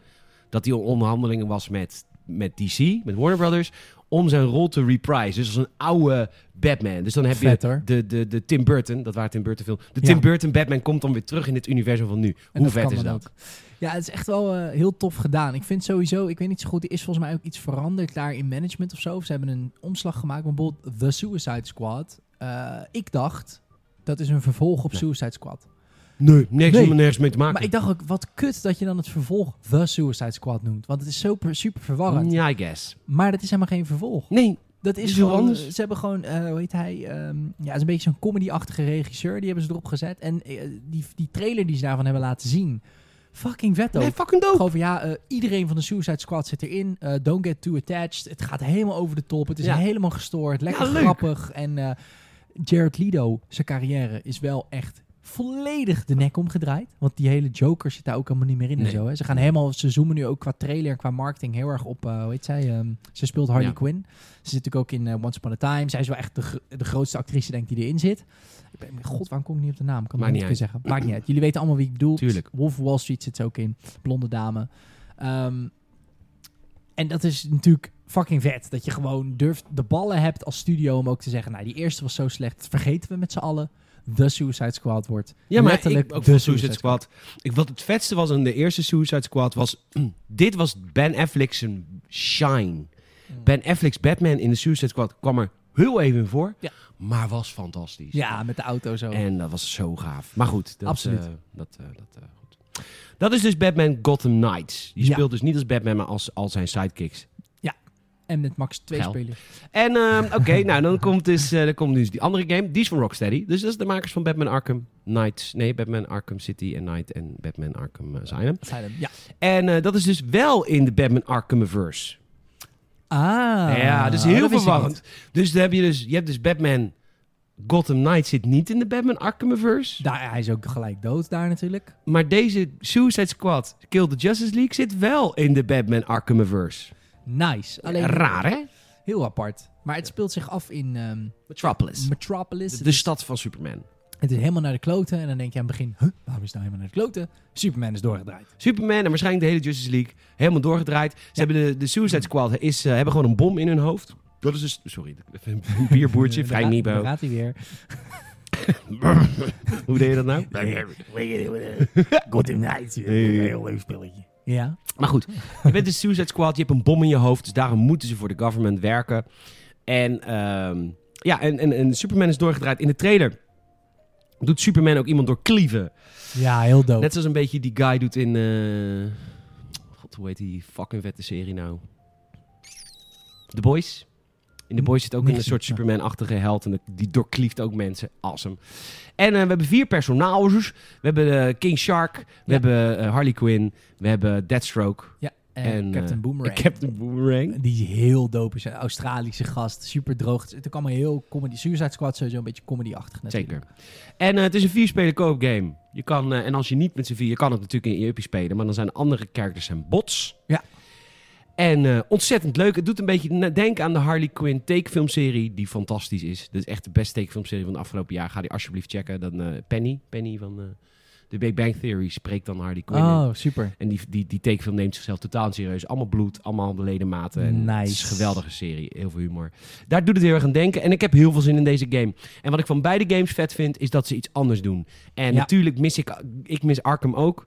S1: dat hij in onderhandelingen was met, met DC, met Warner Brothers, om zijn rol te reprise. Dus als een oude Batman. Dus dan heb
S2: Vet,
S1: je
S2: hoor.
S1: de, de, de Tim Burton, dat waren Tim Burton film. De
S2: Ja.
S1: Tim Burton Batman komt dan weer terug in het universum van nu.
S2: En
S1: Hoe
S2: dat
S1: vet
S2: kan
S1: is
S2: dan
S1: dat?
S2: ook. Ja, het is echt wel eh, heel tof gedaan. Ik vind sowieso, ik weet niet zo goed, er is volgens mij ook iets veranderd daar in management of zo. Of ze hebben een omslag gemaakt, maar bijvoorbeeld The Suicide Squad. Eh, ik dacht, dat is een vervolg op
S1: Nee.
S2: Suicide
S1: Ah,
S2: Squad.
S1: Nee, niks
S2: Nee.
S1: om er nergens mee te maken.
S2: Maar ik dacht ook, wat kut dat je dan het vervolg The Suicide Squad noemt. Want het is zo per- super verwarrend.
S1: Ja, I guess.
S2: Maar dat is helemaal geen vervolg.
S1: Nee,
S2: Dat is
S1: Mm. Is heel
S2: gewoon,
S1: anders.
S2: Ze hebben gewoon, eh, hoe heet hij? ehm, ja, het is een beetje zo'n comedy-achtige regisseur. Die hebben ze erop gezet. En eh, die, die trailer die ze daarvan hebben laten zien. Fucking vet ook.
S1: nee fucking dope.
S2: Gewoon van ja, eh, iedereen van de Suicide Squad zit erin. Eh, don't get too attached. Het gaat helemaal over de top. Het is
S1: Ja.
S2: helemaal gestoord. Lekker
S1: Ja, leuk.
S2: grappig. En eh, Jared Leto, zijn carrière is wel echt volledig de nek omgedraaid. Want die hele Joker zit daar ook helemaal niet meer in
S1: Nee.
S2: en zo. Hè. Ze gaan helemaal, ze zoomen nu ook qua trailer en qua marketing heel erg op, eh hoe heet zij? ehm, ze speelt Harley
S1: Ja.
S2: Quinn. Ze zit natuurlijk ook in eh, Once Upon a Time. Zij is wel echt de, gr- de grootste actrice, denk ik, die erin zit. Ik ben, God, waarom kom ik niet op de naam? Ik Kan
S1: Maakt
S2: het
S1: niet
S2: niet zeggen. Maakt niet uit. Jullie weten allemaal wie ik bedoel.
S1: Tuurlijk.
S2: Wolf of Wall Street zit ze ook in. Blonde dame. Ehm, en dat is natuurlijk fucking vet. Dat je gewoon durft de ballen hebt als studio om ook te zeggen... Nou, die eerste was zo slecht. dat Vergeten we met z'n allen. The Suicide Squad wordt
S1: Ja, maar
S2: letterlijk
S1: ik, ook
S2: The
S1: van Suicide Squad. Ik, wat het vetste was aan de eerste Suicide Squad was... *clears throat* dit was Ben Affleck's shine.
S2: Mm.
S1: Ben Affleck's Batman in de Suicide Squad kwam er heel even voor.
S2: Ja.
S1: Maar was fantastisch.
S2: Ja, met de auto zo.
S1: En dat was zo gaaf. Maar goed, dat,
S2: Absoluut.
S1: eh, dat, eh, dat, eh, goed. dat is dus Batman Gotham Knights. Die
S2: Ja.
S1: speelt dus niet als Batman, maar als, als zijn sidekicks.
S2: En met max twee
S1: Geil.
S2: spelers.
S1: En ehm, oké, *laughs* nou dan komt, dus, eh, dan komt dus die andere game. Die is van Rocksteady. Dus dat is de makers van Batman Arkham Knights. Nee, Batman Arkham City en Knight en Batman Arkham eh, Asylum.
S2: Asylum, Ja.
S1: En eh, dat is dus wel in de Batman Arkhamverse.
S2: Ah.
S1: ja, dat is heel verwarrend. Dus dan heb je dus, je hebt dus Batman... Gotham Knight zit niet in de Batman Arkhamverse.
S2: Daar, hij is ook gelijk dood daar natuurlijk.
S1: Maar deze Suicide Squad Kill the Justice League zit wel in de Batman Arkhamverse.
S2: Nice. Alleen
S1: Raar, hè?
S2: heel apart. Maar het speelt zich af in ehm,
S1: Metropolis.
S2: Metropolis.
S1: De,
S2: Het
S1: de
S2: is-
S1: stad van Superman.
S2: Het is helemaal naar de kloten. En dan denk je aan het begin, huh, waarom is het nou helemaal naar de kloten? Superman is doorgedraaid.
S1: Superman en waarschijnlijk de hele Justice League helemaal doorgedraaid. Ze
S2: Ja.
S1: hebben de, de Suicide Squad is, eh, hebben gewoon een bom in hun hoofd. Dat is dus... Sorry, een bierboertje, *laughs*
S2: Eh,
S1: vrij
S2: daar-
S1: Nibo.
S2: Daar gaat hij weer. *laughs*
S1: Hoe deed je dat nou?
S2: *laughs* Gotham Knights.
S1: Hey.
S2: Heel leuk spelletje. Ja.
S1: Maar goed, je bent de Suicide Squad, je hebt een bom in je hoofd, dus daarom moeten ze voor de government werken. En ehm, ja, en, en, en Superman is doorgedraaid. In de trailer doet Superman ook iemand door klieven.
S2: Ja, heel dood.
S1: Net zoals een beetje die guy doet in... eh, God, hoe heet die fucking vette serie nou? The Boys. In The Boys zit ook
S2: Niet
S1: een
S2: gezien,
S1: soort
S2: ja.
S1: Superman-achtige held. En die doorklieft ook mensen. Awesome. En eh, we hebben vier personages. We hebben eh, King Shark. We
S2: Ja.
S1: hebben eh, Harley Quinn. We hebben Deathstroke.
S2: ja. En,
S1: en,
S2: Captain
S1: eh,
S2: Boomerang.
S1: Captain Boomerang.
S2: Die heel dope is. Een Australische gast. Super droog. Het kwam een heel comedy. Suicide Squad sowieso een beetje comedy-achtig natuurlijk.
S1: Zeker. En eh, het is een vier-speler co-op game. Je kan, eh, en als je niet met z'n vier, je kan het natuurlijk in je uppie spelen, maar dan zijn andere characters zijn bots.
S2: Ja.
S1: En eh, ontzettend leuk. Het doet een beetje na- denken aan de Harley Quinn tekenfilmserie, die fantastisch is. Dit is echt de beste tekenfilmserie van het afgelopen jaar. Ga die alsjeblieft checken. Dan eh, Penny, Penny van eh, de Big Bang Theory spreekt dan Harley Quinn. in.
S2: Oh, super.
S1: En die, die, die tekenfilm neemt zichzelf totaal niet serieus. Allemaal bloed, allemaal de ledematen. En
S2: Nice.
S1: Het is een geweldige serie, heel veel humor. Daar doet het heel erg aan denken. En ik heb heel veel zin in deze game. En wat ik van beide games vet vind, is dat ze iets anders doen. En
S2: Ja.
S1: natuurlijk mis ik, ik mis Arkham ook.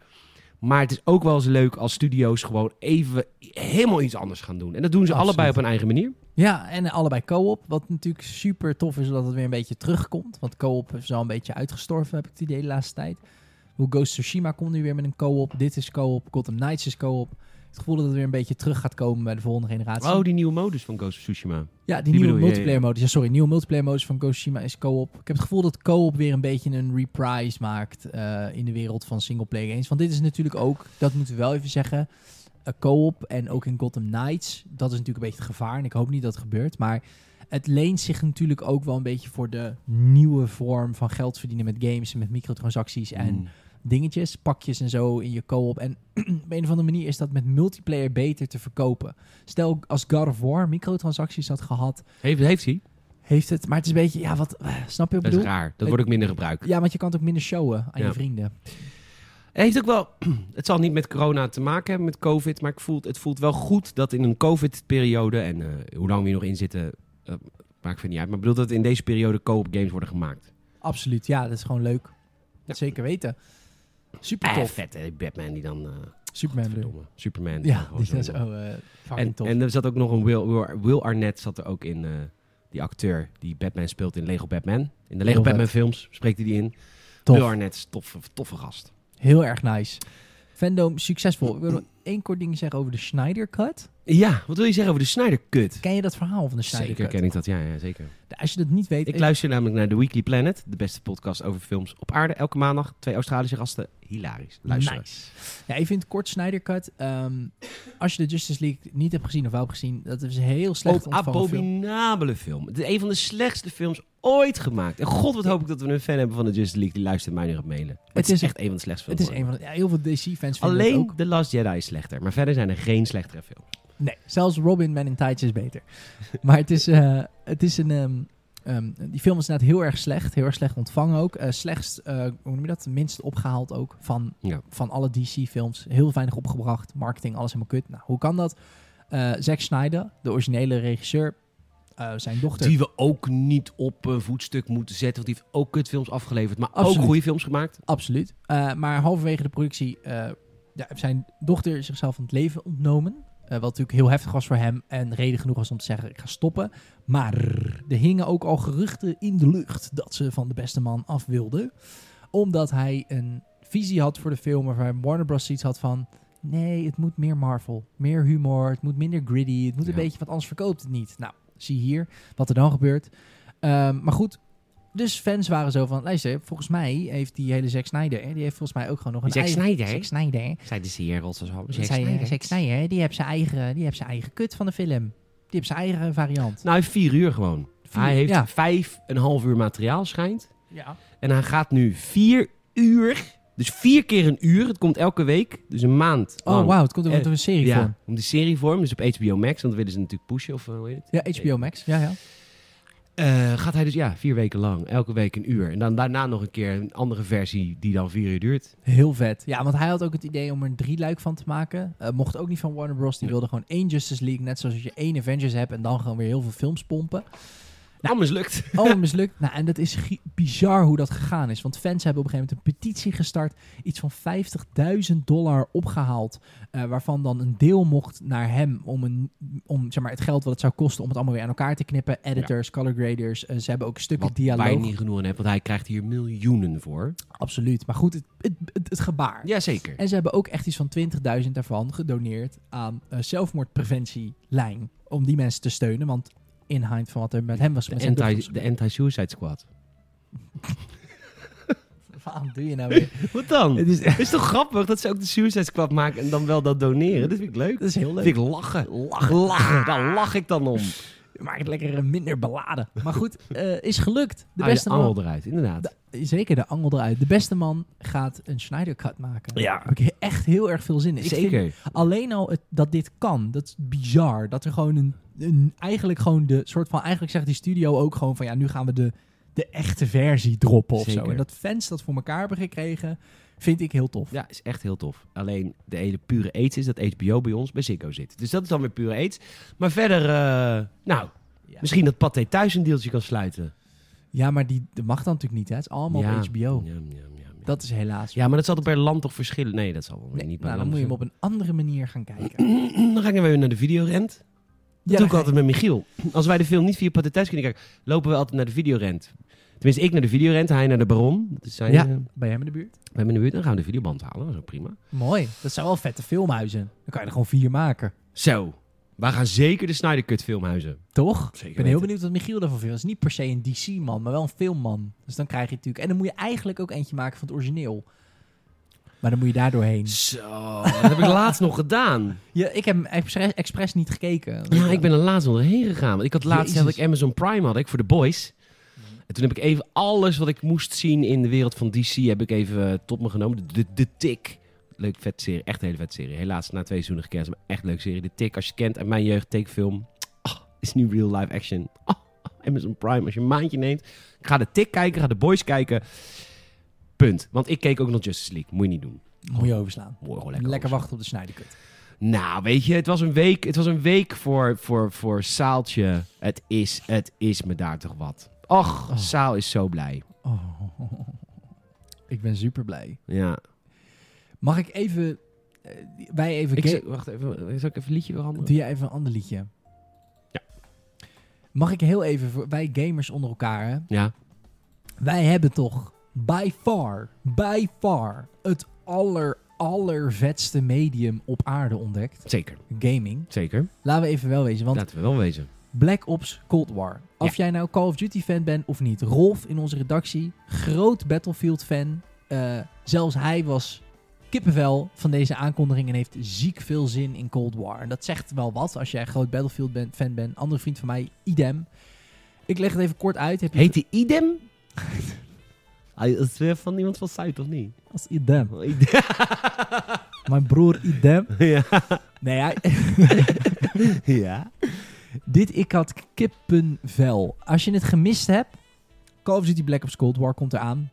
S1: Maar het is ook wel eens leuk als studio's gewoon even helemaal iets anders gaan doen. En dat doen ze
S2: Absoluut.
S1: allebei op hun eigen manier.
S2: Ja, en allebei co-op. Wat natuurlijk super tof is dat het weer een beetje terugkomt. Want co-op is al een beetje uitgestorven, heb ik het idee, de laatste tijd. Hoe Ghost of Tsushima komt nu weer met een co-op. Dit is co-op. Gotham Knights is co-op. Het gevoel dat het weer een beetje terug gaat komen bij de volgende generatie.
S1: Oh, die nieuwe modus van Ghost of Tsushima.
S2: ja, die,
S1: die
S2: nieuwe
S1: bedoel je,
S2: multiplayer modus. Ja, sorry, nieuwe multiplayer modus van Ghost of Tsushima is co-op. Ik heb het gevoel dat co-op weer een beetje een reprise maakt eh, in de wereld van singleplayer games. Want dit is natuurlijk ook, dat moeten we wel even zeggen, eh, co-op en ook in Gotham Knights. Dat is natuurlijk een beetje het gevaar en ik hoop niet dat het gebeurt. Maar het leent zich natuurlijk ook wel een beetje voor de nieuwe vorm van geld verdienen met games en met microtransacties en
S1: Mm.
S2: dingetjes, pakjes en zo in je co-op. En *clears throat* op een of andere manier is dat met multiplayer beter te verkopen. Stel, als God of War microtransacties had gehad,
S1: Heeft, heeft hij?
S2: heeft het... Maar het is een beetje, ja, wat... eh, Snap je wat ik
S1: Dat is
S2: bedoel?
S1: raar. Dat wordt ook minder gebruikt.
S2: Ja, want je kan het ook minder showen aan
S1: Ja.
S2: je vrienden.
S1: Het heeft ook wel, *clears throat* het zal niet met corona te maken hebben, met COVID, maar ik voel, het voelt wel goed dat in een COVID-periode, en eh, hoe lang we hier nog in zitten, eh, maakt verder niet uit, maar ik bedoel dat in deze periode co-op games worden gemaakt.
S2: Absoluut, ja, dat is gewoon leuk.
S1: Ja.
S2: Zeker weten. Super
S1: Eh,
S2: tof.
S1: vet, hè? Batman die dan, eh,
S2: Superman bedoel ik.
S1: verdomme, Superman.
S2: Ja,
S1: gewoon
S2: die
S1: zo-
S2: zijn zo eh, fucking
S1: en,
S2: tof.
S1: en er zat ook nog een Will, Will, Will Arnett zat er ook in, eh, die acteur die Batman speelt in Lego Batman. In de Lego
S2: Heel vet.
S1: Batman films spreekt hij die in.
S2: tof.
S1: Will Arnett is toffe, toffe gast.
S2: Heel erg nice. Fandom, succesvol. Ik wil nog één kort ding zeggen over de Snyder Cut.
S1: Ja, wat wil je zeggen over de Snyder-cut?
S2: Ken je dat verhaal van de Snyder
S1: Zeker
S2: Cut? Nou,
S1: ken ik dat, ja, ja zeker.
S2: Als je dat niet weet...
S1: Ik luister namelijk naar The Weekly Planet, de beste podcast over films op aarde. Elke maandag twee Australische gasten. Hilarisch. Luister.
S2: eh, Nice. Ja, even in het kort, Snyder Cut. Ehm, als je de Justice League niet hebt gezien of wel hebt gezien, dat is een heel slecht
S1: Ook
S2: ontvangen film.
S1: abominabele film. Het is een van de slechtste films ooit gemaakt. En god, wat hoop ik dat we een fan hebben van de Justice League die luistert en mij nu gaat mailen. Het,
S2: Het
S1: is,
S2: is-
S1: echt een van de slechtste
S2: Het
S1: films.
S2: is een van de, ja, heel veel DC-fans vinden het
S1: Alleen
S2: ook.
S1: The Last Jedi is slechter, maar verder zijn er geen slechtere films.
S2: Nee, zelfs Robin Man in Tights is beter. *laughs* maar het is, eh, het is een... ehm, ehm, die film is inderdaad heel erg slecht. Heel erg slecht ontvangen ook. Eh, slechtst, eh, hoe noem je dat? Minst opgehaald ook van,
S1: Ja.
S2: van alle DC-films. Heel weinig opgebracht. Marketing, alles helemaal kut. Nou, hoe kan dat? Eh, Eh, Zack Snyder, de originele regisseur, eh, zijn dochter.
S1: Die we ook niet op een voetstuk moeten zetten. Want die heeft ook kutfilms afgeleverd. Maar ook
S2: Absoluut.
S1: goede films gemaakt.
S2: Absoluut. Eh, maar halverwege de productie eh, ja, heeft zijn dochter is zichzelf van het leven ontnomen. Eh, wat natuurlijk heel heftig was voor hem en reden genoeg was om te zeggen: ik ga stoppen. Maar er hingen ook al geruchten in de lucht dat ze van de beste man af wilde. Omdat hij een visie had voor de film waarvan Warner Bros. iets had van: nee, het moet meer Marvel, meer humor, het moet minder gritty, het moet een
S1: Ja.
S2: beetje, want anders verkoopt het niet. Nou, zie hier wat er dan gebeurt. Ehm, maar goed, dus fans waren zo van, luister, volgens mij heeft die hele Zack Snyder, hè, die heeft volgens mij ook gewoon nog een
S1: Zack
S2: eigen...
S1: Snyder, hè?
S2: Zack Snyder.
S1: Zij de zeer Rotterdam.
S2: Dat zei, eh, Zack Snyder, hè, die heeft zijn eigen, die heeft zijn eigen kut van de film. Die heeft zijn eigen variant.
S1: Nou, hij heeft vier uur gewoon.
S2: Vier,
S1: hij heeft
S2: ja.
S1: vijf en een half uur materiaal schijnt.
S2: Ja.
S1: En hij gaat nu vier uur. Dus vier keer een uur. Het komt elke week. Dus een maand
S2: Oh,
S1: lang.
S2: wauw, het komt ook
S1: Eh,
S2: door een serie
S1: Ja,
S2: vorm.
S1: om de serie vorm. Dus op HBO Max. Want dan willen ze natuurlijk pushen of eh, hoe heet het.
S2: Ja, HBO Max. Ja, ja.
S1: Eh, gaat hij dus ja, vier weken lang. Elke week een uur. En dan daarna nog een keer een andere versie die dan vier uur duurt.
S2: Heel vet. Ja, want hij had ook het idee om er een drieluik van te maken. Eh, mocht ook niet van Warner Bros. Die
S1: Nee.
S2: wilde gewoon één Justice League, net zoals je één Avengers hebt en dan gewoon weer heel veel films pompen.
S1: Nou, mislukt.
S2: Oh, het mislukt. Nou, en dat is gi- bizar hoe dat gegaan is. Want fans hebben op een gegeven moment een petitie gestart. Iets van 50.000 dollar opgehaald. eh, waarvan dan een deel mocht naar hem. Om, een, om zeg maar, het geld wat het zou kosten om het allemaal weer aan elkaar te knippen. Editors, color graders. eh, ze hebben ook stukken
S1: Wat
S2: dialoog.
S1: wij niet genoeg aan hebben. Want hij krijgt hier miljoenen voor.
S2: Absoluut. Maar goed, het, het, het, het gebaar.
S1: Jazeker.
S2: En ze hebben ook echt iets van 20.000 daarvan gedoneerd aan eh, zelfmoordpreventielijn. Om die mensen te steunen. Want in hind van wat er met hem was. met
S1: De
S2: zijn
S1: anti-
S2: dochter
S1: de
S2: was-
S1: anti-suicide squad.
S2: Waarom doe je nou
S1: *laughs*
S2: weer?
S1: Wat dan?
S2: Het is,
S1: Het is toch grappig dat ze ook de Suicide Squad maken en dan wel dat doneren? Dat vind ik leuk.
S2: dat is heel leuk.
S1: vind ik lachen. Lachen, lachen. Daar lach ik dan om.
S2: Maak het lekker eh, minder beladen. Maar goed, eh, is gelukt. De
S1: Haal Ah, je
S2: beste man.
S1: angel eruit, inderdaad.
S2: Zeker de angel eruit. De beste man gaat een Schneider cut maken.
S1: Ja.
S2: Daar heb ik echt heel erg veel zin in. Ik vind
S1: Zeker.
S2: alleen al het, dat dit kan, dat is bizar. Dat er gewoon een, een- Eigenlijk gewoon de soort van. Eigenlijk zegt die studio ook gewoon van ja, nu gaan we de, de echte versie droppen of
S1: Zeker.
S2: zo. En dat fans dat voor elkaar hebben gekregen, vind ik heel tof.
S1: Ja, is echt heel tof. Alleen de hele pure aids is dat HBO bij ons bij Ziggo zit. Dus dat is dan weer pure aids. Maar verder, eh, nou,
S2: Ja.
S1: misschien dat Pathé thuis een deeltje kan sluiten.
S2: Ja, maar die, dat mag dan natuurlijk niet. Hè? Het is allemaal
S1: Ja.
S2: op HBO.
S1: Ja, ja, ja, ja.
S2: Dat is helaas.
S1: ja, maar dat zal toch per land toch verschillen? Nee, dat zal wel weer
S2: Nee,
S1: niet per
S2: nou, dan
S1: land
S2: moet je hem op een andere manier gaan kijken.
S1: verschillen. *clears throat* Dan gaan we weer naar de videorent. Dat doe ik altijd met Michiel. Als wij de film niet via Pathé thuis kunnen kijken, lopen we altijd naar de videorent. Tenminste, ik naar de videorent, hij naar de baron. Dat is zijn,
S2: Ja.
S1: eh,
S2: Bij hem in de buurt?
S1: we hebben in de buurt, dan gaan we de videoband halen. Zo prima.
S2: Mooi. Dat zijn wel vette filmhuizen. Dan kan je er gewoon vier maken.
S1: Zo, wij gaan zeker de Snyder Cut filmhuizen.
S2: Toch?
S1: Zeker
S2: ik ben heel benieuwd wat Michiel daarvan vindt. Dat is niet per se een DC-man, maar wel een filmman. Dus dan krijg je natuurlijk... En dan moet je eigenlijk ook eentje maken van het origineel. Maar dan moet je daar doorheen.
S1: Zo, dat heb ik laatst nog gedaan.
S2: Ja, ik heb hem expres, expres niet gekeken.
S1: Ja, ik ben er laatst nog heen gegaan. Want ik had laatst had
S2: Jezus.
S1: ik Amazon Prime had ik voor de boys. En toen heb ik even alles wat ik moest zien in de wereld van DC heb ik even eh, tot me genomen. De, de, de Tick. Leuk, vet serie. Echt een hele vet serie. Helaas na twee seizoenen gekend, maar echt leuke serie. De Tick, als je het kent uit mijn jeugd, tekenfilm. Ah, is nu real live action. Ah, Amazon Prime, als je een maandje neemt. Ik ga de Tick kijken, ga de boys kijken. Punt. Want ik keek ook nog Justice League. Moet je niet doen.
S2: Moet je overslaan.
S1: Mooi, gewoon
S2: Lekker,
S1: lekker.
S2: wachten op de snijderkut.
S1: Nou, weet je, het was een week, het was een week voor, voor, voor Saaltje. Het is, het is me daar toch wat. Och,
S2: Oh.
S1: Saal is zo blij.
S2: Oh, ik ben super blij.
S1: Ja.
S2: Mag ik even... eh, wij even...
S1: Ik
S2: ga-
S1: zou- wacht even, zal ik even een liedje veranderen?
S2: Doe jij even een ander liedje?
S1: Ja.
S2: Mag ik heel even... Voor, wij gamers onder elkaar, hè?
S1: Ja.
S2: Wij hebben toch by far, by far het aller, allervetste medium op aarde ontdekt.
S1: Zeker,
S2: Gaming.
S1: zeker.
S2: Laten we even wel wezen, want
S1: Laten we wel wezen.
S2: Black Ops Cold War. Of jij nou Call of Duty fan bent of niet. Rolf in onze redactie, groot Battlefield fan. Eh, zelfs hij was kippenvel van deze aankondiging en heeft ziek veel zin in Cold War. En dat zegt wel wat als jij groot Battlefield ben- fan bent. Andere vriend van mij, idem. Ik leg het even kort uit. Heb je
S1: Heet die Idem? *laughs* Hij is weer van iemand van Zuid, of niet?
S2: als idem?
S1: Idem.
S2: Mijn broer idem.
S1: *laughs* ja.
S2: Nee,
S1: *laughs*
S2: hij,
S1: ja.
S2: Dit ik had kippenvel. Als je het gemist hebt, Call of Duty Black Ops Cold War komt eraan.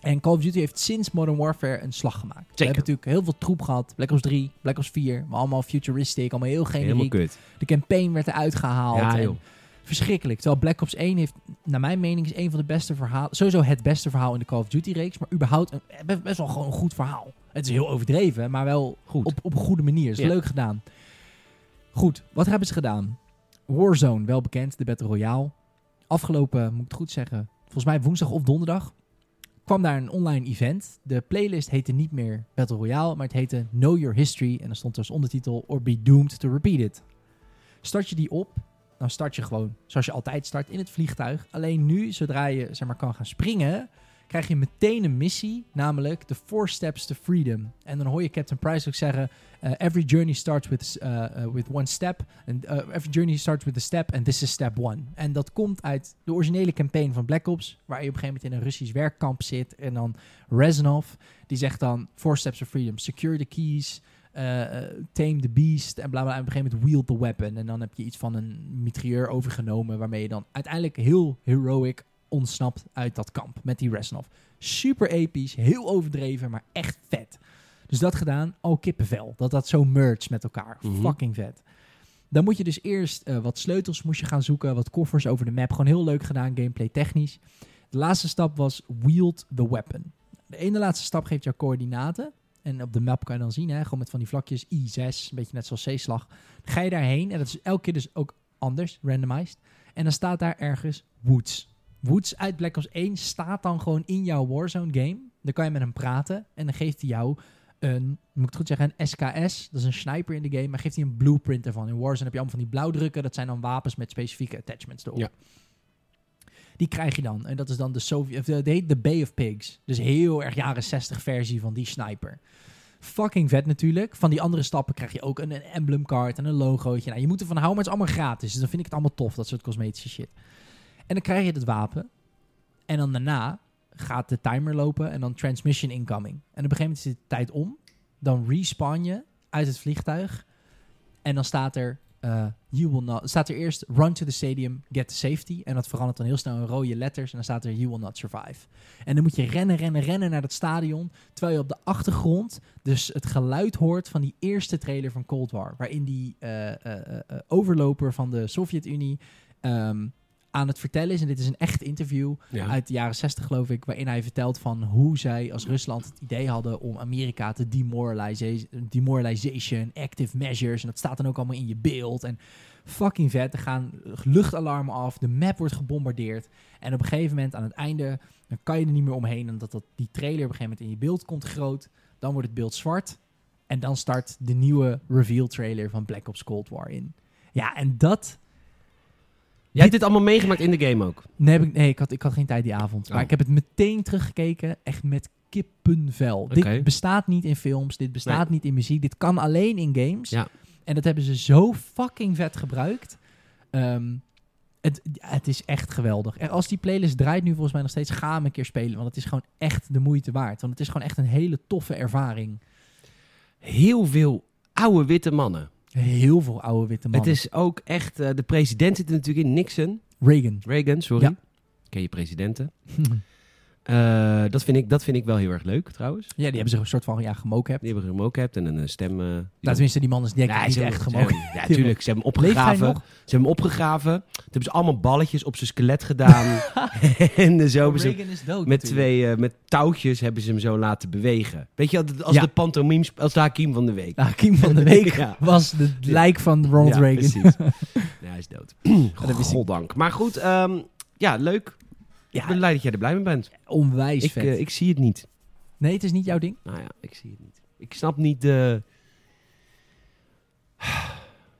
S2: En Call of Duty heeft sinds Modern Warfare een slag gemaakt. We
S1: Zeker.
S2: hebben natuurlijk heel veel troep gehad. Black Ops 3, Black Ops 4, maar allemaal futuristic, allemaal heel
S1: Helemaal
S2: generiek.
S1: kut.
S2: De campaign werd eruit gehaald.
S1: Ja,
S2: en
S1: joh.
S2: Verschrikkelijk. Terwijl Black Ops 1 heeft, naar mijn mening, is een van de beste verhalen. Sowieso het beste verhaal in de Call of Duty reeks. Maar überhaupt een, be- best wel gewoon een goed verhaal. Het is heel overdreven, maar wel
S1: Goed.
S2: op, op een goede manier. Is
S1: Ja.
S2: leuk gedaan. Goed, wat hebben ze gedaan? Warzone, wel bekend, de Battle Royale. Afgelopen, moet ik het goed zeggen, volgens mij woensdag of donderdag, kwam daar een online event. De playlist heette niet meer Battle Royale, maar het heette Know Your History. En dan stond er als ondertitel Or Be Doomed to Repeat It. Start je die op, dan start je gewoon zoals je altijd start in het vliegtuig. Alleen nu, zodra je zeg maar, kan gaan springen, krijg je meteen een missie, namelijk de Four Steps to Freedom. En dan hoor je Captain Price ook zeggen: eh, Every journey starts with, eh, eh, with one step. And, eh, every journey starts with a step, and this is step one. En dat komt uit de originele campaign van Black Ops, waar je op een gegeven moment in een Russisch werkkamp zit. En dan Reznov, die zegt dan: Four Steps to Freedom, secure the keys. eh, eh, tame the beast en bla bla. En op een gegeven moment wield the weapon. En dan heb je iets van een mitrailleur overgenomen. Waarmee je dan uiteindelijk heel heroic ontsnapt uit dat kamp met die Reznov. Super episch, heel overdreven, maar echt vet. Dus dat gedaan, al kippenvel. Dat dat zo merge met elkaar.
S1: Mhm.
S2: Fucking vet. Dan moet je dus eerst eh, wat sleutels moest je gaan zoeken, wat koffers over de map. Gewoon heel leuk gedaan, gameplay technisch. De laatste stap was wield the weapon. De ene laatste stap geeft jou coördinaten. En op de map kan je dan zien, hè, gewoon met van die vlakjes I6, een beetje net zoals C-slag. Dan Ga je daarheen en dat is elke keer dus ook anders, randomized. En dan staat daar ergens Woods. Woods uit Black Ops 1 staat dan gewoon in jouw Warzone game. Dan kan je met hem praten en dan geeft hij jou een, moet ik het goed zeggen, een SKS. Dat is een sniper in de game, maar geeft hij een blueprint ervan. In Warzone heb je allemaal van die blauwdrukken. Dat zijn dan wapens met specifieke attachments erop.
S1: Ja.
S2: Die krijg je dan. En dat is dan de Sovjet... of de- de heet de Bay of Pigs. Dus heel erg jaren 60 versie van die sniper. Fucking vet natuurlijk. Van die andere stappen krijg je ook een, een emblem card en een logootje. Nou, je moet ervan houden, maar het is allemaal gratis. Dus dan vind ik het allemaal tof, dat soort cosmetische shit. En dan krijg je dat wapen. En dan daarna gaat de timer lopen en dan transmission incoming. En op een gegeven moment is de tijd om. Dan respawn je uit het vliegtuig. En dan staat er, eh, you will not, staat er eerst run to the stadium, get to safety. En dat verandert dan heel snel in rode letters. En dan staat er, you will not survive. En dan moet je rennen, rennen, rennen naar dat stadion. Terwijl je op de achtergrond dus het geluid hoort van die eerste trailer van Cold War. Waarin die eh, eh, eh, eh, overloper van de Sovjet-Unie ehm, aan het vertellen is. En dit is een echt interview
S1: Ja.
S2: uit de jaren 60 geloof ik, waarin hij vertelt van hoe zij als Rusland het idee hadden om Amerika te demoralise- demoralisation, active measures. En dat staat dan ook allemaal in je beeld. En fucking vet, er gaan luchtalarmen af, de map wordt gebombardeerd. En op een gegeven moment aan het einde, dan kan je er niet meer omheen. En dat, dat die trailer op een gegeven moment in je beeld komt groot, dan wordt het beeld zwart. En dan start de nieuwe reveal trailer van Black Ops Cold War in. Ja, en dat
S1: Jij hebt dit allemaal meegemaakt in de game ook.
S2: Nee, heb ik, nee ik, had, ik had geen tijd die avond. Maar
S1: Oh.
S2: ik heb het meteen teruggekeken. Echt met kippenvel.
S1: Oké.
S2: Dit bestaat niet in films. Dit bestaat niet in muziek. Dit kan alleen in games.
S1: Ja.
S2: En dat hebben ze zo fucking vet gebruikt. Ehm, het, het is echt geweldig. En als die playlist draait nu volgens mij nog steeds, ga hem een keer spelen. Want het is gewoon echt de moeite waard. Want het is gewoon echt een hele toffe ervaring.
S1: Heel veel oude witte mannen.
S2: Heel veel oude witte mannen.
S1: Het is ook echt, eh, de president zit er natuurlijk in, Nixon.
S2: Reagan.
S1: Reagan, sorry.
S2: Ja.
S1: Ken je
S2: *laughs*
S1: presidenten. Eh, dat, vind ik, dat vind ik wel heel erg leuk trouwens.
S2: ja, die hebben ze een soort van ja, gemoken hebt.
S1: Die hebben hem ook hebt en een eh, stem. eh, die
S2: Nou, tenminste, die man is denk ik
S1: Nee,
S2: niet
S1: ze
S2: echt
S1: hebben-
S2: gemoken.
S1: ze hebben- Ja, tuurlijk. Ze hebben hem
S2: *laughs* Leeft hij
S1: opgegraven.
S2: nog?
S1: Ze hebben hem opgegraven. Toen hebben ze allemaal balletjes op zijn skelet
S2: *laughs*
S1: gedaan. en eh, zo hebben ze hem
S2: Reagan is dood
S1: met
S2: natuurlijk.
S1: twee eh, met touwtjes hebben ze hem zo laten bewegen. Weet je, als
S2: Ja.
S1: de pantomime, als de Hakim van de week.
S2: De Hakim Nou, van de Week
S1: *laughs* Ja.
S2: was de
S1: Ja.
S2: lijk van Ronald
S1: Ja,
S2: Reagan. *laughs*
S1: Precies. Ja, hij is dood.
S2: dat wist ik.
S1: Goddank. Maar goed, ehm, ja, leuk. Ik ben
S2: Ja,
S1: blij dat jij er blij mee bent.
S2: onwijs
S1: Ik,
S2: vet.
S1: eh, ik zie het niet.
S2: nee, het is niet jouw ding.
S1: Nou ja, ik zie het niet. Ik snap niet de...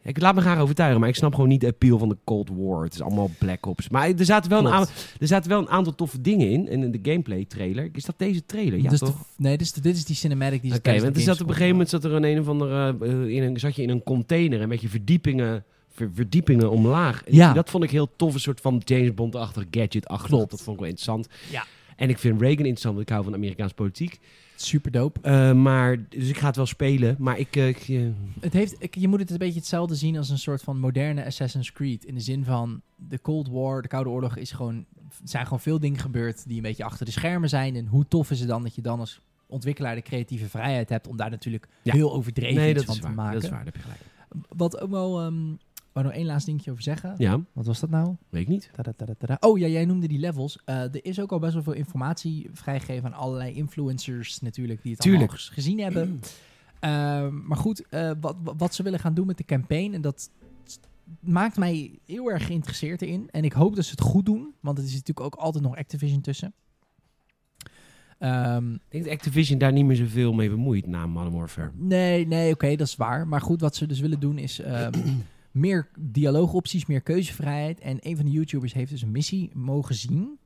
S1: Ik laat me graag overtuigen, maar ik snap gewoon niet de appeal van de Cold War. Het is allemaal Black Ops. Maar er zaten wel, een,
S2: Klopt.
S1: aantal, er zaten wel een aantal toffe dingen in. En in de gameplay trailer. Is dat deze trailer? Ja,
S2: Dus de-
S1: toch?
S2: nee, dit is, de- dit is die cinematic die
S1: Oké,
S2: ze tijdens
S1: want
S2: de
S1: er zat op een
S2: Gamescom
S1: gegeven moment zat er een een of andere, eh, in een, zat je in een container en met je verdiepingen, ver- verdiepingen omlaag. En
S2: Ja.
S1: Dat vond ik heel tof, een soort van James Bond-achtig gadget-achtig.
S2: Klopt.
S1: Dat vond ik wel interessant.
S2: Ja.
S1: En ik vind Reagan interessant, want ik hou van Amerikaanse politiek.
S2: super dope.
S1: Eh, maar, dus ik ga het wel spelen. Maar ik... eh, ik, eh,
S2: Het heeft, ik- je moet het een beetje hetzelfde zien als een soort van moderne Assassin's Creed. In de zin van de Cold War, de Koude Oorlog, is gewoon, er zijn gewoon veel dingen gebeurd die een beetje achter de schermen zijn. En hoe tof is het dan dat je dan als ontwikkelaar de creatieve vrijheid hebt om daar natuurlijk
S1: Ja.
S2: heel overdreven
S1: nee, dat
S2: iets van
S1: is,
S2: te
S1: waar,
S2: maken.
S1: dat is waar. Dat heb je gelijk.
S2: Wat ook wel, ehm wou nog één laatste dingetje over zeggen.
S1: Ja,
S2: Wat was dat nou?
S1: weet ik niet.
S2: Tada, tada, tada. Oh ja, jij noemde die levels. Eh, er is ook al best wel veel informatie vrijgegeven aan allerlei influencers natuurlijk die het
S1: Tuurlijk.
S2: allemaal ges- gezien hebben. Ehm, maar goed, eh, wat, wat- wat ze willen gaan doen met de campaign en dat maakt mij heel erg geïnteresseerd erin. En ik hoop dat ze het goed doen, want het is natuurlijk ook altijd nog Activision tussen. Ehm,
S1: Ik denk dat Activision daar niet meer zoveel mee bemoeit na Modern Warfare.
S2: Nee, nee, oké, dat is waar. Maar goed, wat ze dus willen doen is ehm, *clears throat* meer dialoogopties, meer keuzevrijheid. En een van de YouTubers heeft dus een missie mogen zien.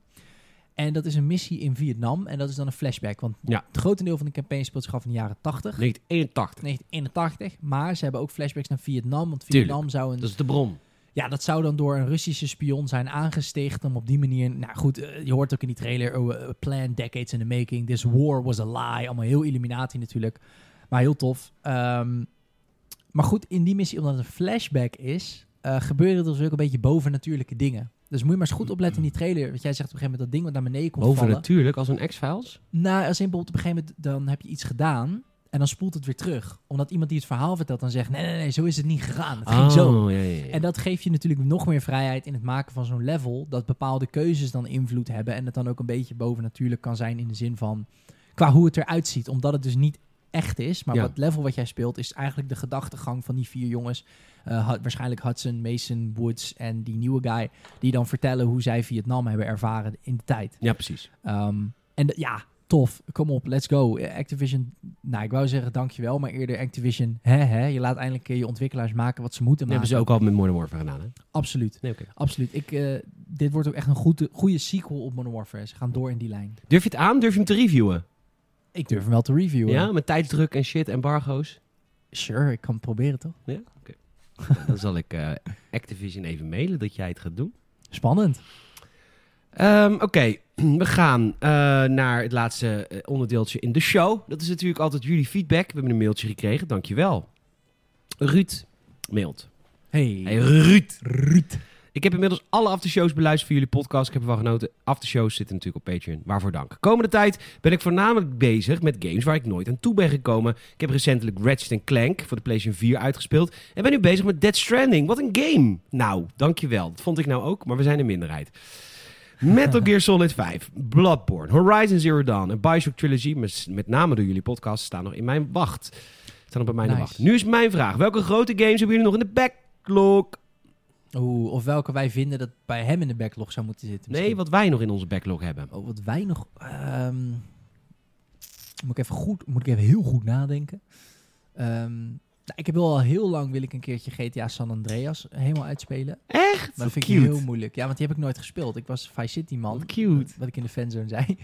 S2: En dat is een missie in Vietnam. En dat is dan een flashback. Want
S1: Ja.
S2: het grotendeel van de campaign speelt zich af in de jaren 80,
S1: 1981.
S2: 1981. Maar ze hebben ook flashbacks naar Vietnam. Want
S1: Tuurlijk.
S2: Vietnam zou een
S1: Dat is de bron.
S2: ja, dat zou dan door een Russische spion zijn aangesticht om op die manier... Nou goed, eh, je hoort ook in die trailer, oh, eh, plan decades in the making, this war was a lie. Allemaal heel Illuminati natuurlijk, maar heel tof. Ehm, maar goed, in die missie, omdat het een flashback is, eh, gebeuren er dus ook een beetje bovennatuurlijke dingen. Dus moet je maar eens goed opletten in die trailer. Want jij zegt op een gegeven moment dat ding wat naar beneden komt
S1: Boven
S2: vallen.
S1: natuurlijk, als een X-Files.
S2: Nou, als in bijvoorbeeld op een gegeven moment dan heb je iets gedaan en dan spoelt het weer terug. Omdat iemand die het verhaal vertelt dan zegt, nee, nee, nee, zo is het niet gegaan. Het
S1: Ah.
S2: ging zo.
S1: Oh, Ja, ja, ja.
S2: En dat geeft je natuurlijk nog meer vrijheid in het maken van zo'n level. Dat bepaalde keuzes dan invloed hebben. En het dan ook een beetje bovennatuurlijk kan zijn in de zin van... qua hoe het eruit ziet. Omdat het dus niet echt is. Maar
S1: Ja.
S2: wat level wat jij speelt is eigenlijk de gedachtegang van die vier jongens. Eh, Hu- waarschijnlijk Hudson, Mason, Woods en die nieuwe guy. Die dan vertellen hoe zij Vietnam hebben ervaren in de tijd.
S1: ja, precies.
S2: Ehm, en d- ja, tof. Kom op, let's go. Eh, Activision, nou ik wou zeggen dankjewel. Maar eerder Activision, hè hè. Je laat eindelijk eh, je ontwikkelaars maken wat ze moeten
S1: Dat
S2: maken.
S1: hebben ze ook al met Modern Warfare gedaan, hè?
S2: Absoluut.
S1: Nee, oké.
S2: Absoluut. Ik, eh, dit wordt ook echt een goede, goede sequel op Modern Warfare. Ze gaan door in die lijn.
S1: Durf je het aan? Durf je hem te reviewen?
S2: Ik durf hem wel te reviewen.
S1: Ja, met tijdsdruk en shit, embargo's. *laughs*
S2: Sure, ik kan het proberen toch?
S1: Ja, oké. Nou, Dan zal ik eh, Activision even mailen dat jij het gaat doen.
S2: Spannend.
S1: Ehm, Oké, *clears throat* we gaan eh, naar het laatste eh, onderdeeltje in de show. Dat is natuurlijk altijd jullie feedback. We hebben een mailtje gekregen, dankjewel. Ruud mailt.
S2: Hey.
S1: Hey, Ruud. Ruud. Ik heb inmiddels alle aftershows beluisterd van jullie podcast. Ik heb ervan genoten. Aftershows zitten natuurlijk op Patreon. Waarvoor dank. Komende tijd ben ik voornamelijk bezig met games waar ik nooit aan toe ben gekomen. Ik heb recentelijk Ratchet Clank voor de PlayStation 4 uitgespeeld. En ben nu bezig met Dead Stranding. Wat een game. Nou, dankjewel. Dat vond ik nou ook, maar we zijn een minderheid. Metal Gear Solid 5, Bloodborne, Horizon Zero Dawn en Bioshock Trilogy, met, met name door jullie podcast, staan nog in mijn wacht. Staan nog bij mij in de
S2: Nice.
S1: wacht. Nu is mijn vraag. Welke grote games hebben jullie nog in de backlog?
S2: Oeh, of welke wij vinden dat bij hem in de backlog zou moeten zitten.
S1: Nee, wat wij nog in onze backlog hebben.
S2: Oh, wat wij nog... ehm, moet, ik even goed, moet ik even heel goed nadenken. Ehm, nou, ik heb wel al heel lang wil ik een keertje GTA San Andreas helemaal uitspelen.
S1: Echt?
S2: Maar dat vind ik
S1: cute.
S2: heel moeilijk. Ja, want die heb ik nooit gespeeld. Ik was Vice City man.
S1: Wat cute.
S2: Wat ik in de fanzone zei.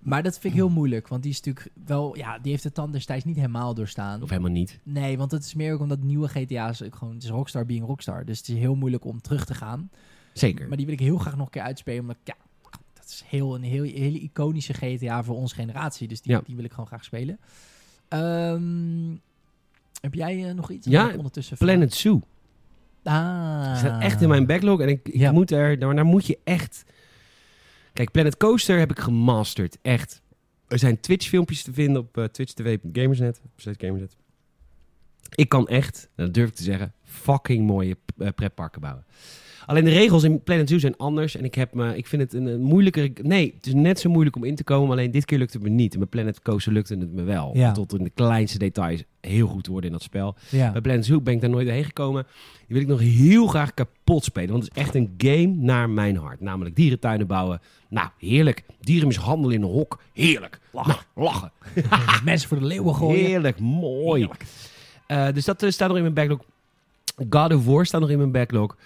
S2: Maar dat vind ik heel moeilijk, want die is natuurlijk wel, ja, die heeft de tand destijds niet helemaal doorstaan.
S1: Of helemaal niet.
S2: Nee, want het is meer ook omdat nieuwe GTA's ook gewoon, het is Rockstar being Rockstar, dus het is heel moeilijk om terug te gaan.
S1: Zeker.
S2: Maar die wil ik heel graag nog een keer uitspelen, omdat ik- ja, dat is heel een heel, hele iconische GTA voor onze generatie, dus die,
S1: Ja.
S2: die wil ik gewoon graag spelen. Ehm, heb jij eh, nog iets?
S1: Ja,
S2: Of heb ik ondertussen
S1: Planet Zoo
S2: Ah.
S1: staat echt in mijn backlog en ik, ik
S2: Ja.
S1: moet er, daar, daar moet je echt... Kijk, Planet Coaster heb ik gemasterd, echt. Er zijn Twitch-filmpjes te vinden op eh, twitch.tv.gamersnet. op steeds Gamersnet. Ik kan echt, nou, dat durf ik te zeggen, fucking mooie eh, pretparken bouwen. Alleen de regels in Planet Zoo zijn anders. En ik, heb me, ik vind het een, een moeilijker... Nee, het is net zo moeilijk om in te komen. Alleen dit keer lukte het me niet. En Met Planet Coaster lukte het me wel.
S2: Ja.
S1: Tot in de kleinste details heel goed te worden in dat spel.
S2: Ja.
S1: Bij Planet Zoo ben ik daar nooit heen gekomen. Die wil ik nog heel graag kapot spelen. Want het is echt een game naar mijn hart. Namelijk dierentuinen bouwen. Nou, heerlijk. Dierenmishandel in een hok. Heerlijk. Lachen. lachen.
S2: Mensen voor de leeuwen gooien.
S1: Heerlijk. Mooi. Eh, dus dat eh, staat nog in mijn backlog. God of War staat nog in mijn backlog.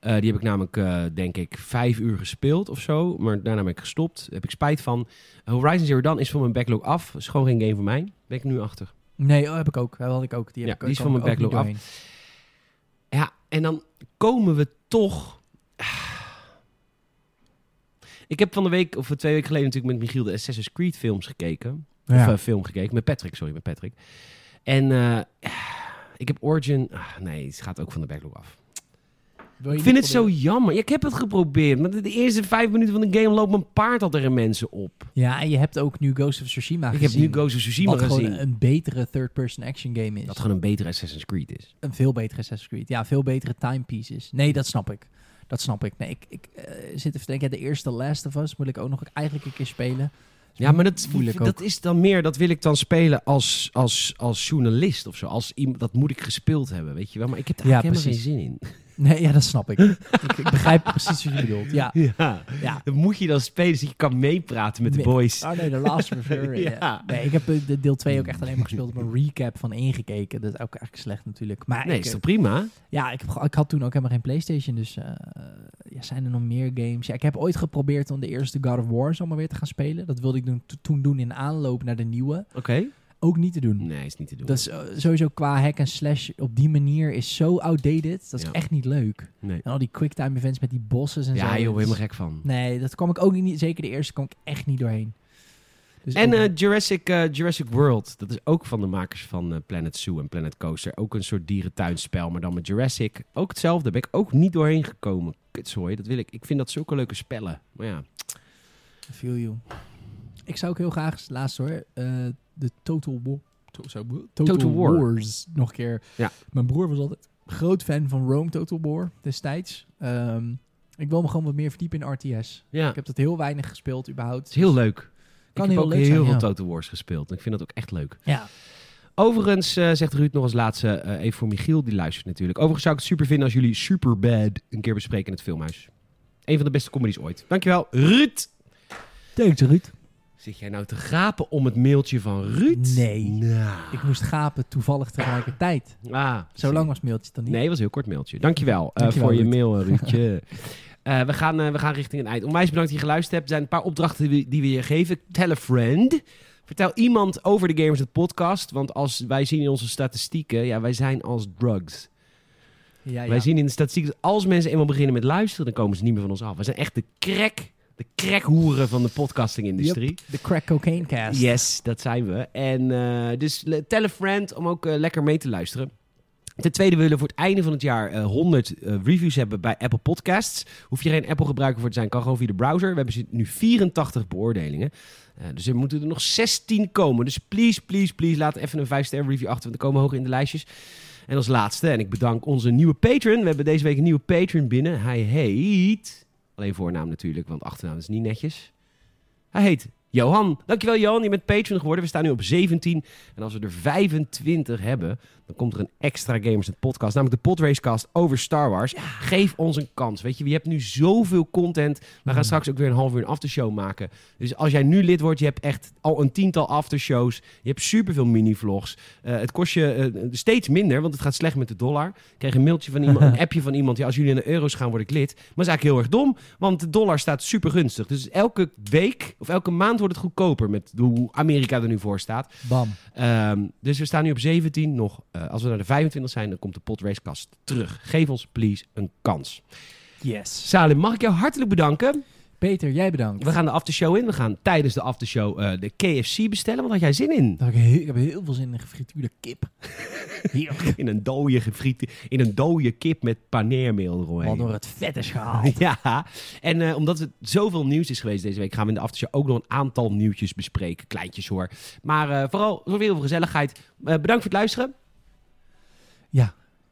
S1: Eh, die heb ik namelijk, eh, denk ik, vijf uur gespeeld of zo. Maar daarna ben ik gestopt. Daar heb ik spijt van. Horizon Zero Dawn is van mijn backlog af. Is gewoon geen game voor mij. Ben ik nu achter.
S2: Nee, oh, heb ik ook. Dat had ik ook. Die, heb
S1: Ja,
S2: ik,
S1: die is
S2: ik
S1: van
S2: kwam
S1: mijn
S2: ook niet
S1: backlog
S2: doorheen.
S1: Ja, en dan komen we toch. Ik heb van de week, of twee weken geleden, natuurlijk met Michiel de Assassin's Creed films gekeken. Of
S2: Ja.
S1: eh, film gekeken. Met Patrick, sorry, met Patrick. En eh, ik heb Origin... ah, nee, het gaat ook van de backlog af.
S2: Wil je
S1: Ik eh, vind
S2: niet
S1: het zo
S2: proberen?
S1: jammer. Ja, ik heb het geprobeerd. Maar de de eerste vijf minuten van de game loopt mijn paard al tegen mensen op.
S2: Ja, en je hebt ook nu Ghost of Tsushima
S1: ik heb
S2: gezien.
S1: nu Ghost of Tsushima
S2: Wat gewoon
S1: gezien.
S2: een betere third-person action game is.
S1: Dat gewoon een betere Assassin's Creed is.
S2: Een veel betere Assassin's Creed. Ja, veel betere timepiece is. Nee, dat snap ik. Dat snap ik. Nee, ik, ik eh, zit even te denken, de eerste Last of Us moet ik ook nog eigenlijk een keer spelen.
S1: Ja, maar dat,
S2: moeilijk ook.
S1: dat is dan meer... Dat wil ik dan spelen als, als, als journalist of zo. Als iemand, dat moet ik gespeeld hebben, weet je wel. Maar ik heb daar
S2: Ja,
S1: eigenlijk helemaal geen zin
S2: Nee, ja, dat snap *laughs* ik. ik, ik begrijp precies wat je bedoelt. Ja,
S1: in.
S2: *laughs*
S1: Ja.
S2: ja.
S1: Dan moet je dan spelen zodat je kan meepraten met de
S2: Nee.
S1: boys.
S2: Oh nee, de Last of Us. *laughs* eh,
S1: Ja.
S2: Nee, ik heb eh, de deel 2 ook echt alleen maar gespeeld. *laughs* Ik heb een recap van ingekeken. Dat is ook eigenlijk slecht natuurlijk. Maar
S1: Nee,
S2: ik,
S1: is
S2: eh,
S1: toch prima?
S2: Ja, ik, heb ge- ik had toen ook helemaal geen PlayStation, dus eh, ja, zijn er nog meer games? Ja, ik heb ooit geprobeerd om de eerste God of War zomaar weer te gaan spelen. Dat wilde ik doen, to- toen doen in aanloop naar de nieuwe.
S1: Oké.
S2: Ook niet te doen.
S1: Nee, is niet te doen.
S2: Dat is eh, sowieso qua hack en slash op die manier is zo outdated. Dat is
S1: Ja.
S2: echt niet leuk.
S1: Nee.
S2: En al die quicktime events met die bosses en zo.
S1: Ja,
S2: dat
S1: joh,
S2: is-
S1: helemaal gek van.
S2: Nee, dat kwam ik ook niet. Zeker de eerste kwam ik echt niet doorheen. Dus
S1: En
S2: ook-
S1: eh, Jurassic, eh, Jurassic World, dat is ook van de makers van eh, Planet Zoo en Planet Coaster. Ook een soort dierentuinspel, maar dan met Jurassic. Ook hetzelfde, daar ben ik ook niet doorheen gekomen. Kutzooi, dat wil ik. Ik vind dat zulke leuke spellen. Maar ja,
S2: I feel you. Ik zou ook heel graag, als laatste hoor, eh, de Total War. To- zo, Total,
S1: Total War.
S2: Wars nog een keer.
S1: Ja.
S2: Mijn broer was altijd groot fan van Rome Total War destijds. Ehm, ik wil me gewoon wat meer verdiepen in RTS.
S1: ja
S2: Ik heb dat heel weinig gespeeld überhaupt. Dus-
S1: het is heel leuk.
S2: Kan
S1: ik heb
S2: heel
S1: ook
S2: leuk
S1: heel
S2: zijn,
S1: veel
S2: ja.
S1: Total Wars gespeeld. En ik vind dat ook echt leuk.
S2: Ja.
S1: Overigens, eh, zegt Ruud nog als laatste, eh, even voor Michiel, die luistert natuurlijk. Overigens zou ik het super vinden als jullie Superbad een keer bespreken in het filmhuis. Een van de beste comedies ooit. Dankjewel, Ruud!
S2: Thanks Ruud.
S1: Zit jij nou te gapen om het mailtje van Ruud?
S2: Nee.
S1: Nou.
S2: Ik moest gapen toevallig tegelijkertijd.
S1: Ah,
S2: Zo lang was het mailtje dan niet.
S1: Nee, het was een heel kort mailtje. Dankjewel, eh
S2: Dankjewel,
S1: voor je
S2: Ruud.
S1: mail,
S2: *laughs*
S1: eh, Ruudje. Eh, we, gaan, eh, we gaan richting een eind. Onwijs bedankt dat je geluisterd hebt. Er zijn een paar opdrachten die we, die we je geven. Tell a friend. Vertel iemand over de Gamers het podcast. Want als wij zien in onze statistieken... Ja, wij zijn als drugs.
S2: Ja, ja.
S1: Wij zien in de statistieken... dat als mensen eenmaal beginnen met luisteren... dan komen ze niet meer van ons af. Wij zijn echt de crack... de crackhoeren van de podcastingindustrie.
S2: Yup, De crack cocaine cast.
S1: Yes, dat zijn we. En eh, dus le- tell a friend om ook eh, lekker mee te luisteren. Ten tweede willen we voor het einde van het jaar eh, 100 eh, reviews hebben bij Apple Podcasts. Hoef je geen Apple gebruiker voor te zijn, kan gewoon via de browser. We hebben nu 84 beoordelingen. Eh, dus er moeten er nog 16 komen. Dus please, please, please laat even een 5-ster review achter, want we komen hoger in de lijstjes. En als laatste, en ik bedank onze nieuwe patron. We hebben deze week een nieuwe patron binnen. Hij heet... Alleen voornaam natuurlijk, want achternaam is niet netjes. Hij heet Johan. Dankjewel Johan, je bent patron geworden. We staan nu op 17. En als we er 25 hebben, dan komt er een extra Gamers en podcast. Namelijk de Podracecast over Star Wars. Geef ons een kans. Weet je, je hebt nu zoveel content. We gaan
S2: Mm.
S1: straks ook weer een half uur een aftershow maken. Dus als jij nu lid wordt, je hebt echt al een tiental aftershows. Je hebt superveel mini-vlogs. Eh, het kost je eh, steeds minder, want het gaat slecht met de dollar. Ik kreeg een mailtje van iemand, een appje van iemand. Ja, als jullie naar de euro's gaan, word ik lid. Maar dat is eigenlijk heel erg dom. Want de dollar staat super gunstig. Dus elke week of elke maand wordt het goedkoper met hoe Amerika er nu voor staat.
S2: Bam.
S1: Ehm, dus we staan nu op 17 nog. Eh, als we naar de 25 zijn, dan komt de potracecast terug. Geef ons please een kans.
S2: Yes.
S1: Salim, mag ik jou hartelijk bedanken.
S2: Peter, jij bedankt.
S1: We gaan de aftershow in. We gaan tijdens de aftershow eh, de KFC bestellen. Want had jij zin in?
S2: Ik heb heel- ik heb heel veel zin in een gefrituurde kip. Heerlijk.
S1: *laughs* In een dode gefriet, in een dode kip met paneermeel
S2: Wat
S1: eromheen. *laughs*
S2: door het vet is gehaald.
S1: Ja, en eh, omdat het zoveel nieuws is geweest deze week, gaan we in de aftershow ook nog een aantal nieuwtjes bespreken. Kleintjes hoor. Maar eh, vooral voor heel veel gezelligheid. Eh, bedankt voor het luisteren.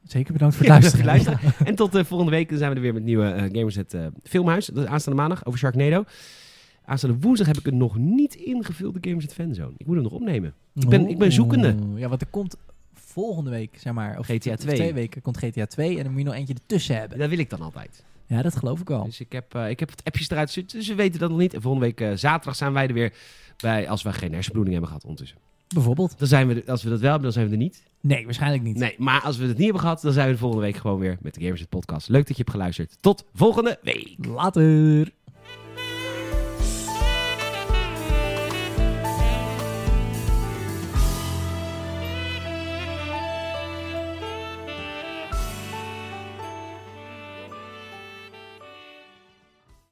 S2: Zeker bedankt voor het luisteren.
S1: Bedankt *laughs* voor het luisteren. en tot eh, volgende week. Dan zijn we er weer met nieuwe eh, Gamers het eh, Filmhuis. Dat is aanstaande maandag over Sharknado. Aanstaande woensdag heb ik het nog niet ingevuld, de Gamers het Fanzone. Ik moet hem nog opnemen. Ik ben- ik ben zoekende.
S2: Oeh, Ja, want er komt volgende week, zeg maar. Of
S1: GTA 2.
S2: of twee weken komt GTA 2 en dan moet je nog eentje ertussen hebben.
S1: Dat wil ik dan altijd.
S2: Ja, dat geloof ik wel.
S1: Dus ik heb, eh, ik heb het appjes eruit gezet, dus we weten dat nog niet. En volgende week eh, zaterdag zijn wij er weer bij, als we geen hersenbloeding hebben gehad ondertussen.
S2: Bijvoorbeeld.
S1: Dan zijn we, er- als we dat wel hebben, dan zijn we er niet.
S2: Nee, waarschijnlijk niet.
S1: Nee, maar als we het niet hebben gehad, dan zijn we de volgende week gewoon weer met de Gamers in het Podcast. Leuk dat je hebt geluisterd. Tot volgende week.
S2: Later.